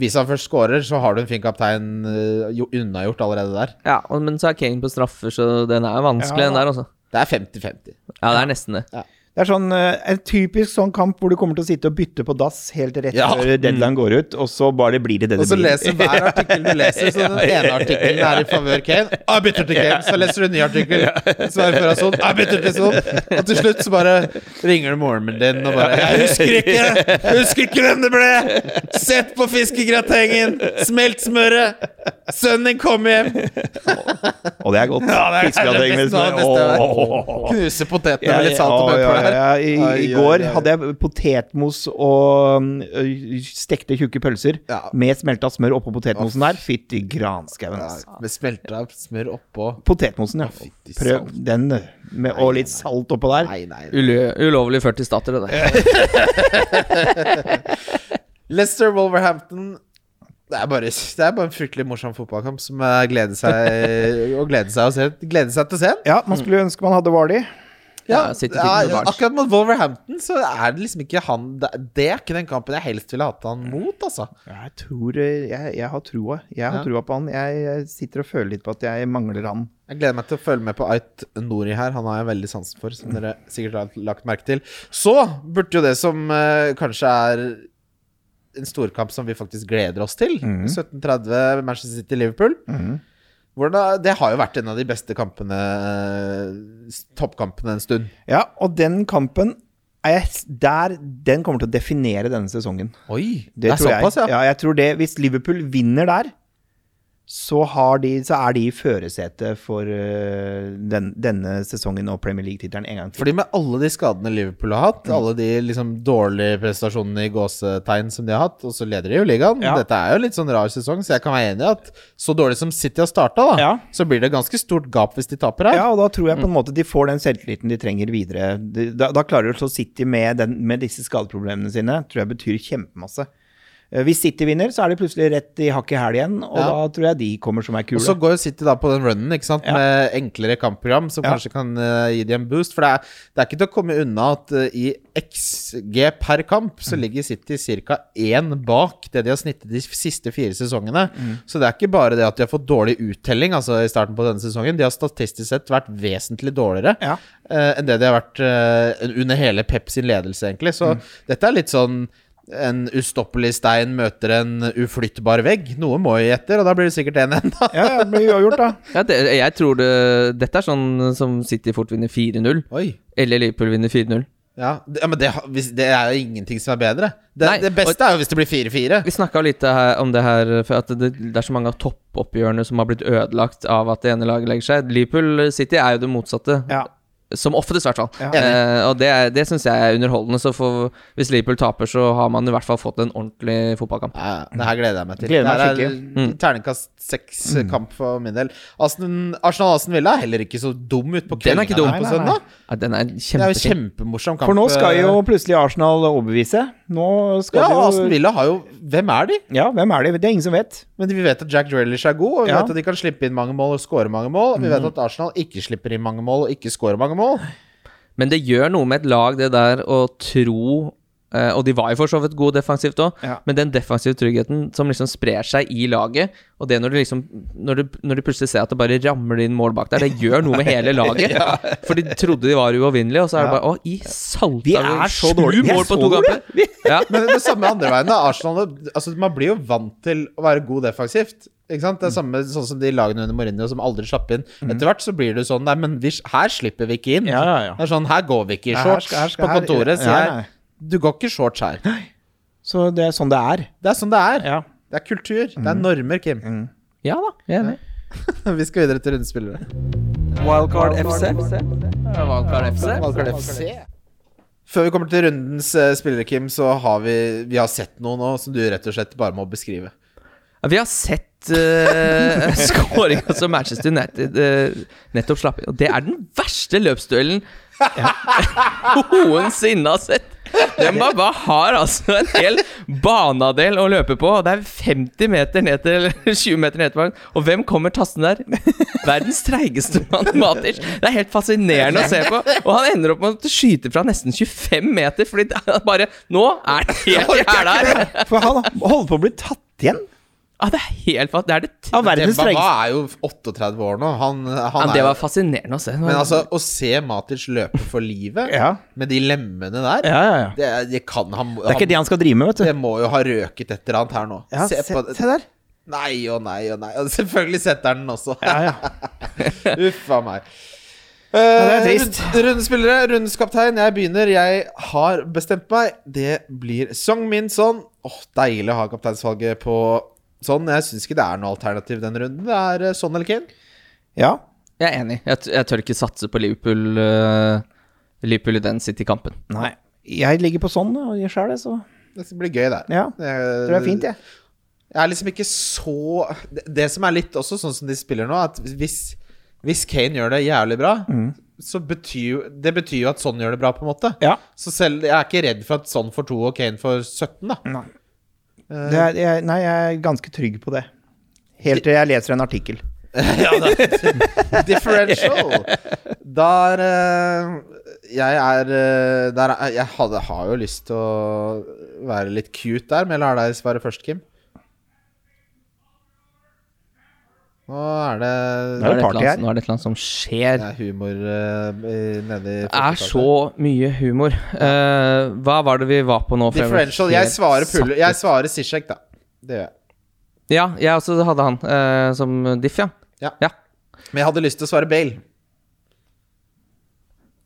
Hvis han først scorer, så har du en fin kaptein eh, jo- unnagjort allerede der.
og- men så er Kane på straffer, så den er jo vanskelig,
Ja.
den der, altså.
Det er 50-50.
Ja, det er nesten det.
Det er sånn, eh, en typisk sånn kamp hvor du kommer til å sitte og bytte på dass helt rett
Ja.
før deadline går ut, og så bare blir det det
Og så
det blir.
leser hver artikkel du leser, så den ene artikkelen er i favør Kane. «Ah, Jeg bytter til Kane, så leser du en ny artikkel som er i favør av Son. «Ah, Jeg bytter til Son. Og til slutt så bare ringer du moren min din og bare Jeg husker ikke! Husker ikke hvem det ble! Sett på fiskegratengen! Smelt smøret! Sønnen din kom hjem!
Og det er godt. Fiskegrateng med
Noe av det beste
smør.
jeg
Åh,
vet.
sånn, åh, åh.
Knuse
Ja,
potetene med litt salt og
ja,
pepper
ja,
der.
ja. I, I
Ai,
går
ai, ai.
hadde jeg potetmos og mm, ø, stekte tjukke pølser
Ja.
med smelta smør oppå potetmosen der. Fytti granskauen.
Ja,
altså.
Med smelta smør oppå.
Potetmosen, ja.
fytti
Prøv
salt.
den, øh, med, og litt salt oppå der.
Nei, nei, nei.
Ulø ulovlig 40 stater, det der.
Leicester Wolverhampton det er, bare, det er bare en fryktelig morsom fotballkamp som jeg gleder seg å glede seg, å se, glede seg til å se. den.
Ja, man skulle ønske man hadde Vardy.
Ja,
Ja, City
ja,
sitter med Barnes.
akkurat mot Wolverhampton så er det liksom ikke han Det det er ikke den kampen jeg helst ville hatt han mot, altså.
Jeg tror eh, Jeg, jeg har troa. Jeg har
Ja.
troa på han. Jeg, jeg sitter og føler litt på at jeg mangler han.
Jeg gleder meg til å følge med på Ait Nori her. Han har jeg veldig sansen for, som dere sikkert har lagt merke til. Så burde jo det som eh, kanskje er en storkamp som vi faktisk gleder oss til, 17.30 Manchester City-Liverpool Hvordan, Det har jo vært en av de beste kampene eh, s- Toppkampene en stund.
Ja, og den kampen er jeg, s- der, Den kommer til å definere denne sesongen.
Oi! Det,
Det,
er
tror
såpass,
jeg.
ja.
ja. Jeg tror det. Hvis Liverpool vinner der, så, har de, så er de i førersetet for eh, den, denne sesongen og Premier League-tittelen en Mm. gang til.
Fordi med alle de skadene Liverpool har hatt, alle de liksom dårlige prestasjonene i gåsetegn som de har hatt, og så leder de jo ligaen.
Ja.
Dette er jo litt sånn rar sesong, så jeg kan være enig i at så dårlig som City har starta, da,
Ja.
så blir det ganske stort gap hvis de taper her.
Ja, og da tror jeg på en
Mm.
måte de får den selvtilliten de trenger videre. De- Da, da klarer de å slå City med, den, med disse skadeproblemene sine. Tror jeg betyr kjempemasse. Eh, Hvis City vinner, så er de plutselig rett i hakk i hæl igjen, og
Ja.
da tror jeg de kommer som ei
Og så
kule.
går jo City da på den runnen ikke sant?
Ja.
med enklere kampprogram, som
Ja.
kanskje kan eh, gi dem en boost. For det er, det er ikke til å komme unna at eh, i XG per kamp
Mm.
så ligger City ca. én bak det de har snittet de siste fire sesongene.
Mm.
Så det er ikke bare det at de har fått dårlig uttelling altså i starten på denne sesongen. De har statistisk sett vært vesentlig dårligere
Ja.
eh, enn det de har vært eh, under hele Pep sin ledelse, egentlig. Så
Mm.
dette er litt sånn en ustoppelig stein møter en uflyttbar vegg. Noe må jo gi etter, og da blir det sikkert 1-1, da.
Ja, ja, det blir uavgjort, da.
Ja, det, jeg tror det Dette er sånn som City fort vinner 4-0,
Oi.
eller Liverpool vinner 4-0.
Ja, det, ja, men det, har- hvis, det er jo ingenting som er bedre. Det,
Nei,
det beste er jo hvis det blir 4-4.
Vi snakka litt her, om det her For at det, det er så mange av toppoppgjørene som har blitt ødelagt av at det ene laget legger seg. Liverpool City er jo det motsatte.
Ja.
Som oftest, i hvert fall.
Ja.
Eh, og det, er- det syns jeg er underholdende. Så for, hvis Liverpool taper, så har man i hvert fall fått en ordentlig fotballkamp.
Ja, ja, det her gleder jeg meg til.
Gleder meg
det her
skikkelig.
er terningkast seks-kamp for min del. Arsenal- Arsenal-Aston Villa er heller ikke så dum ut på
Den er
kvelden
ikke dum.
på
Nei, nei, nei.
søndag.
Ja, den er
Det er jo
kjempefin.
kjempemorsom kamp. eh,
For nå skal jo plutselig Arsenal overbevise. Nå skal
Ja,
de
og
jo
Aston Villa har jo Hvem er de?
Ja, hvem er de? Det er ingen som vet.
Men vi vet at Jack Grealish er god, og vi
Ja.
vet at de kan slippe inn mange mål og score mange mål. Vi vet at Arsenal ikke slipper inn mange mål og ikke scorer mange mål.
Men det gjør noe med et lag, det der å tro eh, Og de var jo for så vidt gode defensivt òg,
Ja.
men den defensive tryggheten som liksom sprer seg i laget, og det når du liksom når du, når du plutselig ser at det bare ramler inn mål bak der, det gjør noe med hele laget. For de trodde de var uovervinnelige, og så er det bare Å, i salta
Vi er så
sju
dårlige. Vi er
mål på
så
to
dårlige.
kamper! Ja.
Men det samme andre veien. da Arsenal altså, Man blir jo vant til å være god defensivt. Ikke sant? Det
Mm.
er samme sånn som de lagene under Mourinho som aldri slapp inn. Etter hvert så blir det sånn Nei, men vi, her slipper vi ikke inn.
Ja, ja, ja.
Det er sånn Her går vi ikke i
Nei, her
shorts
skal- her skal-
på
her-
kontoret, sier
Nei, nei.
jeg. Du går ikke i shorts her.
Så det er sånn det er.
Det er sånn det er.
Ja. Mm.
Det er kultur. Det er normer, Kim.
ja da, jeg er enig.
Vi skal videre til rundespillere.
Wildcard FC. Wildcard FC.
Valgkart FC. Før vi kommer til rundens eh, spillere, Kim, så har vi, vi har sett noe nå som du rett og slett bare må beskrive.
Ja, Vi har sett uh, skåringa som Manchester United eh, nettopp slapp inn. Og det er den verste løpsduellen noensinne har sett. Den bare, bare har altså en hel banadel å løpe på, og det er 50 meter ned til eller 20 meter ned til banen. Og hvem kommer tassende der? Verdens treigeste mann, Matic. Det er helt fascinerende å se på. Og han ender opp med å skyte fra nesten 25 meter, fordi det er bare Nå er det helt jævla her!
For han holder på å bli tatt igjen
Ja, det er helt fa- Det er det t-
av verdens
Demba
strengeste
er jo 38 år nå. Han, han
Ja,
er
det
jo-
var fascinerende å se.
Men altså, å se Matic løpe for livet
Ja.
med de lemmene der
Ja, ja, ja.
Det, er- det kan han
Det er ikke det han skal drive med, vet du.
det må jo ha røket et eller annet her nå.
Ja, se,
på det.
se der.
Nei og nei og nei. Og selvfølgelig setter han den også.
Ja, ja.
Uff a meg.
det er
Eh,
trist.
rund- Rundespillere, rundens kaptein. Jeg begynner. Jeg har bestemt meg. Det blir Song Min Son. Åh, Deilig å ha kapteinsvalget på sånn. Jeg syns ikke det er noe alternativ denne runden. Det er eh, sånn eller Kane.
ja.
Jeg er enig. Jeg, t- jeg tør ikke satse på Liverpool, eh, Liverpool i den City-kampen.
Nei. Jeg ligger på sånn og gjør sjæl, det, så
Det blir gøy der.
Ja,
Jeg
tror det er fint, jeg.
Jeg er liksom ikke så Det, det som er litt også sånn som de spiller nå, at hvis, hvis Kane gjør det jævlig bra, så betyr jo Det betyr jo at sånn gjør det bra, på en måte.
Ja.
Så selv Jeg er ikke redd for at sånn får to og Kane får 17, da.
Nei. Det er, jeg, nei, jeg er ganske trygg på det. Helt til jeg leser en artikkel.
ja, da. Differential. Da er eh, jeg er eh, der, er- Jeg hadde, har jo lyst til å være litt cute der, men jeg lar deg svare først, Kim. Nå er det
Nå
Nå er det et
er det
eller
party
annet-
her.
Nå er det et eller annet som skjer.
Det er humor uh, nedi
Det er så mye humor. Eh, hva var det vi var på nå? for jeg var
Differential. Jeg
helt
svarer,
satt
pull,
ut.
jeg svarer Zizek, da. Det gjør jeg.
Ja, jeg også hadde han eh, som diff, ja.
Ja.
ja.
Men jeg hadde lyst til å svare Bale.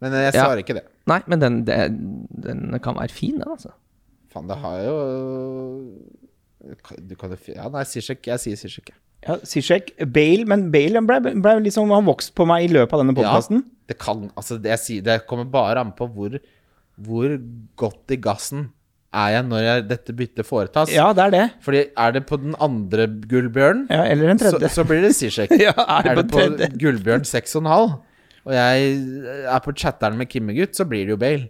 Men eh, jeg
Ja.
svarer ikke det.
Nei, men den, det- den kan være fin, den, altså.
Faen, det har jo Du kan jo fi- Ja, nei, Zizek. Jeg sier Zizek. jeg.
Ja, Zizek, Bale, men Bale han ble, ble liksom, han vokste på meg i løpet av denne podkasten.
Det kan Altså, det, jeg sier, det kommer bare an på hvor, hvor godt i gassen er jeg når jeg, dette byttet foretas.
Ja. det er det.
Fordi er det på den andre gullbjørnen,
Ja, eller en
så,
tredje.
så blir det Zizek.
er det
er det
på
på
tredje?
gullbjørn 6,5, og jeg eh, er på chatteren med Kimmegutt, så blir det jo Bale.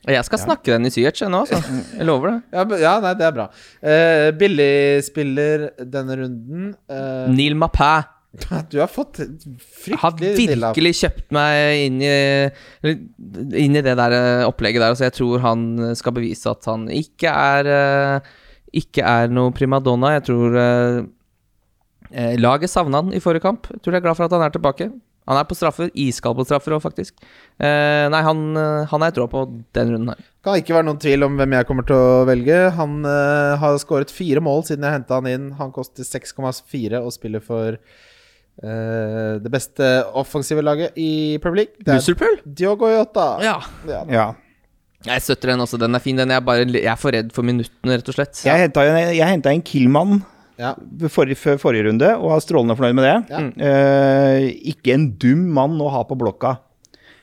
Og Jeg skal snakke den i syet nå, altså. Jeg lover det.
Ja, b- ja, nei, det er bra. Eh, Billig spiller denne runden. Eh,
Neil Mappé
du har fått
har
fryktelig dilla.
virkelig kjøpt meg inn i, eller inn i det der eh, opplegget der, så jeg tror han eh, skal bevise at han ikke er eh, Ikke er noe primadonna. Jeg tror eh, eh, Laget savna han i forrige kamp. Jeg tror de er glad for at han er tilbake. Han er på straffer. Iskald på straffer òg, faktisk. Eh, nei, han, eh, han har jeg troa på den runden her.
Kan ikke være noen tvil om hvem jeg kommer til å velge. Han eh, har skåret fire mål siden jeg henta han inn. Han koster 6,4 og spiller for eh, det beste offensive laget i Premier League. Det er
Busselpool?
Diogo Jota.
Ja.
Ja.
Ja.
Jeg støtter den også. Den er fin, den. Jeg er, bare, jeg er for redd for minuttene, rett og slett.
Jeg henta en, jeg hentet en Killmann
Ja.
forrige, før forrige runde og er strålende fornøyd med det. Eh, ikke en dum mann å ha på blokka.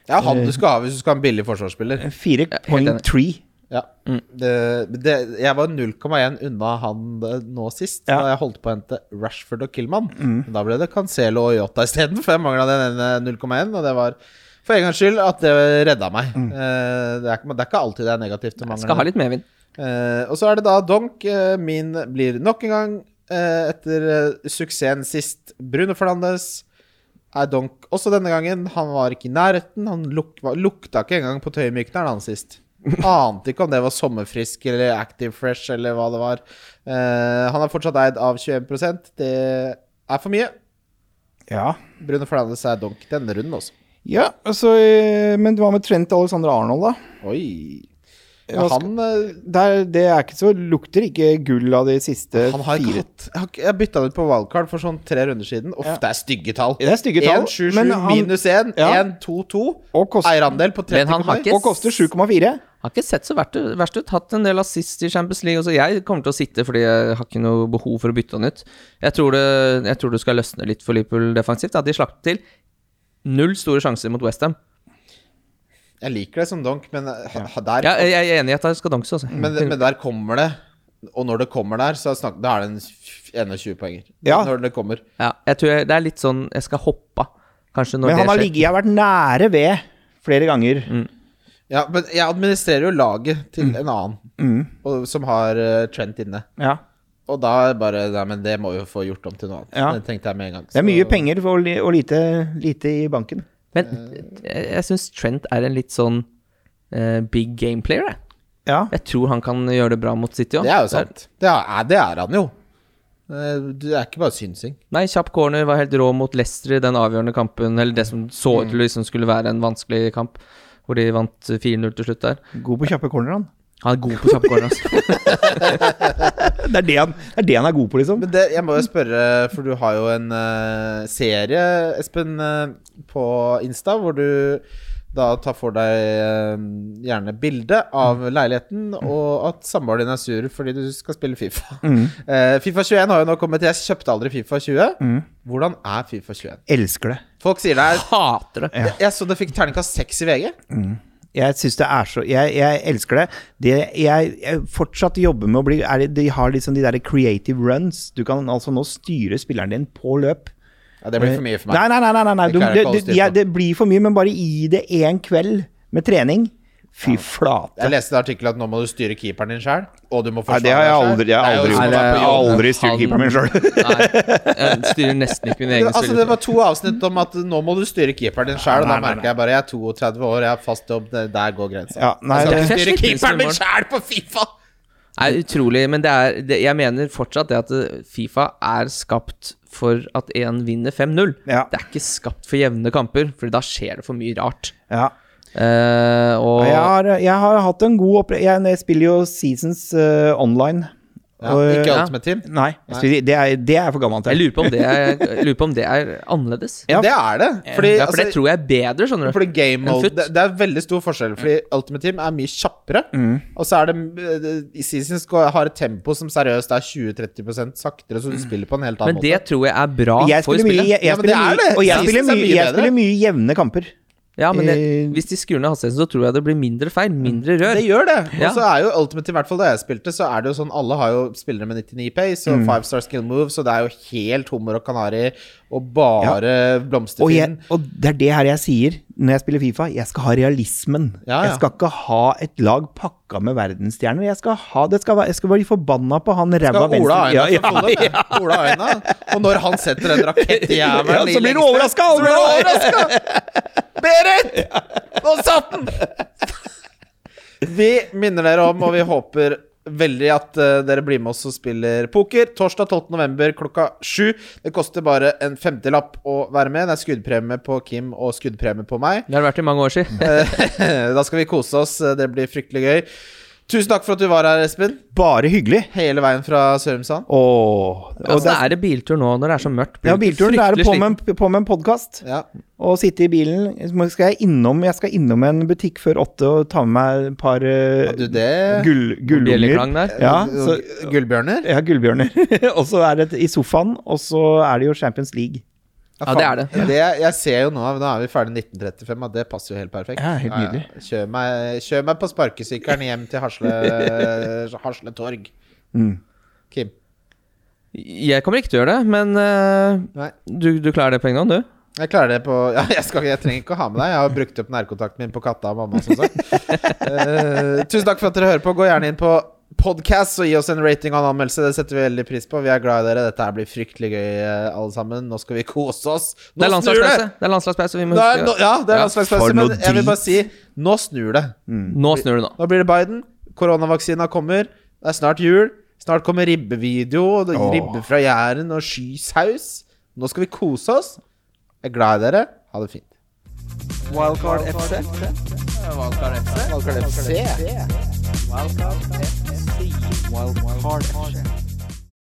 Det er han du skal ha hvis du skal ha en billig forsvarsspiller.
4.3.
Ja.
Mm.
Det, det, jeg var 0,1 unna han eh, nå sist,
Ja.
da jeg holdt på å hente Rashford og Killman.
Mm.
Men da ble det Cancelo og Yota isteden, for jeg mangla den ene 0,1. Og det var for en gangs skyld at det redda meg. Eh, det, er, ikke- det er ikke alltid det er negativt å
Mm. Jeg
mangle
skal ha
den.
litt medvind.
Eh, og så er det da Donk. eh, min blir nok en gang, eh, etter eh, suksessen sist, Bruno Fernandes. Er Donk også denne gangen? Han var ikke i nærheten. Han luk var- lukta ikke engang på tøymykneren han sist. Ante ikke om det var sommerfrisk eller Active Fresh eller hva det var. Eh, han er fortsatt eid av 21 Det er for mye.
Ja.
Bruno Fernandes er Donk denne runden også.
ja altså, eh, men hva med Trent Alexander Arnold, da?
Oi.
Ja,
Ja, han, eh,
Der, det er ikke så, lukter ikke gull av de siste
han har ikke
fire
hatt Jeg har ikke- Jeg bytta den ut på wildcard for sånn tre runder siden. Uff, det er stygge tall.
Det er stygge tall,
1,77
men han-
minus 1,
Ja.
1,22.
Og kost-
Eierandel på 30
Men han har ikke-
Og koster 7,4.
Har ikke sett så verst ut. Verst ut. Hatt en del assist i Champions League. Også. Jeg kommer til å sitte fordi jeg har ikke noe behov for å bytte han ut. Jeg tror det, jeg tror det skal løsne litt for Liverpool defensivt. At de slapp til null store sjanser mot Westham.
Jeg liker det som donk, men, eh, ha- der,
Ja, jeg jeg er enig i at det skal danse, altså.
men, men der kommer det. Og når det kommer der, så snak, da er det en f- 21 poenger.
Ja.
Når det kommer.
ja, jeg tror jeg, det er litt sånn Jeg skal hoppe av, kanskje, når
Men han
det
har
skjer.
ligget, jeg har vært nære ved flere ganger.
Ja, men jeg administrerer jo laget til
Mm.
en annen og, som har eh, Trent inne.
Ja.
Og da er bare Nei, men det må jo få gjort om til noe annet.
Ja.
Det tenkte jeg med en gang.
Det er mye
så-
penger og, li- og lite, lite i banken.
Men jeg, jeg syns Trent er en litt sånn eh, big game player, jeg.
Ja.
Jeg tror han kan gjøre det bra mot City òg.
Det er jo sant. Det er, det er han jo. Eh, Det er ikke bare synsing.
Nei, kjapp corner var helt rå mot Leicester i den avgjørende kampen, eller det som så
Mm.
ut til å liksom skulle være en vanskelig kamp, hvor de vant 4-0 til slutt der.
God på kjappe corner, han.
Han er god på kjapp corner, altså.
Det er det han, det er, det han er god på, liksom.
Men det, jeg må jo spørre, for du har jo en eh, serie, Espen, eh, på Insta, hvor du da tar for deg eh, gjerne bilde av leiligheten, og at samboeren din er sur fordi du skal spille Fifa. Eh, Fifa 21 har jo nå kommet. Jeg kjøpte aldri Fifa 20. Hvordan er Fifa 21?
Elsker det.
Folk sier det er
Hater det.
Jeg, jeg så det fikk terningkast seks i VG.
Jeg syns det er så Jeg, jeg elsker det. det jeg, jeg fortsatt jobber med å bli er, det- De har liksom de derre creative runs. Du kan altså nå styre spilleren din på løp.
Ja, det blir for mye for meg.
Nei, nei, nei. nei, nei.
Det
Du,
klarer jeg ikke å
det,
holde
det,
styr på.
jeg- det blir for mye, men bare gi det én kveld med trening. Fy flate.
Jeg leste en artikkel at nå må du styre keeperen din sjøl, og du må
Nei,
forsvare
det har jeg
deg selv.
aldri Jeg har
Det er
aldri
jo
gjort.
som å være
Jeg
på
har
jobb.
aldri styrt keeperen min sjøl.
Nei, jeg styrer nesten ikke min egen
Altså,
spiller.
det var to avsnitt om at nå må du styre keeperen din sjæl. Og da
Nei, nei,
merker jeg bare jeg er 32 år, jeg har fast jobb, det der går grensa.
Ja, nei,
jeg
det-
skal ikke styre
Jeg sliter
keeperen min
litt
sjæl på Fifa!
Nei, utrolig, men det er, det, jeg mener fortsatt det at eh, Fifa er skapt for at én vinner 5-0.
Ja.
Det er ikke skapt for jevne kamper, for da skjer det for mye rart.
Ja.
Eh, og
Jeg, har, jeg har hatt en god oppre... Jeg, jeg spiller jo Seasons eh, online.
Ja,
Og,
ikke
ja.
Ultimate Team.
Nei, jeg spiller, det, er, det er jeg for gammel
jeg,
til.
lurer på om det er, jeg lurer på om det er annerledes.
Ja.
Det er det. Fordi,
ja, for det
altså,
tror jeg er bedre, skjønner du.
fordi game
En
mode
futt.
det, det er veldig stor forskjell, fordi Ultimate Team er mye kjappere.
Mm.
Og så er det eh, i Seasons går- har et tempo som seriøst er 20-30 saktere, så du spiller på en helt annen
Men det
måte.
tror jeg er bra
Jeg
for
spiller mye,
spillet.
jeg,
Ja,
jeg
men det
spiller
er
mye,
det.
og jeg
Seasons
spiller
er
mye,
mye
jeg
bedre.
spiller mye jevne kamper.
Ja, men jeg,
Eh,
hvis de skrur ned hastigheten, så tror jeg det blir mindre feil. Mindre rør.
Det gjør det.
Ja.
Og så er jo Ultimate Team, i hvert fall da jeg spilte, så er det jo sånn alle har jo spillere med 99 pace
Mm.
og five star skill move, så det er jo helt hummer og kanari og bare
Og, jeg,
blomsterfinn.
og det er det her jeg sier når jeg spiller Fifa. Jeg skal ha realismen.
Ja, ja.
Jeg skal ikke ha et lag pakka med verdensstjerner. Jeg skal, ha, det skal, være- jeg skal være forbanna på han
Ja,
ræva
Ola
venstre...
Aina
ja,
fra Follo, det. Ola Aina. Og når han setter en rakett i
ja,
jævelen
så blir du overraska!
Nå satt den! Vi minner dere om, og vi håper veldig at eh, dere blir med oss og spiller poker. Torsdag 12. november klokka sju. Det koster bare en femtilapp å være med. Det er skuddpremie på Kim og skuddpremie på meg.
Det har det vært i mange år siden.
da skal vi kose oss. Eh, Det blir fryktelig gøy. Tusen takk for at du var her, Espen.
Bare hyggelig.
Hele veien fra Sørumsand.
Åh, og
Altså,
det
er det biltur nå når det er så mørkt?
ja, bilturen det er
fryktelig
på
sliten.
med, en- på med en podkast.
Ja.
Og sitte i bilen. Så må- Skal jeg, innom, jeg skal innom en butikk før åtte og ta med meg et par eh,
Du, det
gull,
Bjelleklang
gullunger.
der.
Ja, så,
Gullbjørner?
ja, gullbjørner. og så er det i sofaen, og så er det jo Champions League.
Ja, det er det.
Jeg ser jo nå Nå er vi ferdig 1935, og det passer jo helt perfekt.
Ja, helt nydelig.
Kjør, meg, kjør meg på sparkesykkelen hjem til Hasle, Hasle Torg. Kim.
Jeg kommer ikke til å gjøre det, men eh,
Nei.
du, du klarer det på egen hånd, du?
Jeg klarer det på ja, jeg, skal, jeg trenger ikke å ha med deg. Jeg har brukt opp nærkontakten min på katta og mamma. Som sagt. Eh, tusen takk for at dere hører på. Gå gjerne inn på podcast og gi oss en rating og en anmeldelse. Det setter vi veldig pris på. Vi er glad i dere. Dette her blir fryktelig gøy, eh, alle sammen. Nå skal vi kose oss. Nå
Det er
snur det!
landslagspause. Det er landslagspause, vi må
Nå er, nå,
huske
ja, det er
Ja,
for
landslagspause,
noe
men jeg vil bare si nå snur det.
Nå snur det nå.
Nå blir det Biden. Koronavaksina kommer. Det er snart jul. Snart kommer ribbevideo, og det-
Åh.
ribbe fra Jæren og skysaus. Nå skal vi kose oss. Jeg er glad i dere. Ha det fint.
Wildcard FC. Wildcard FC. Wildcard FC. Wildcard FC. Wildcard FC.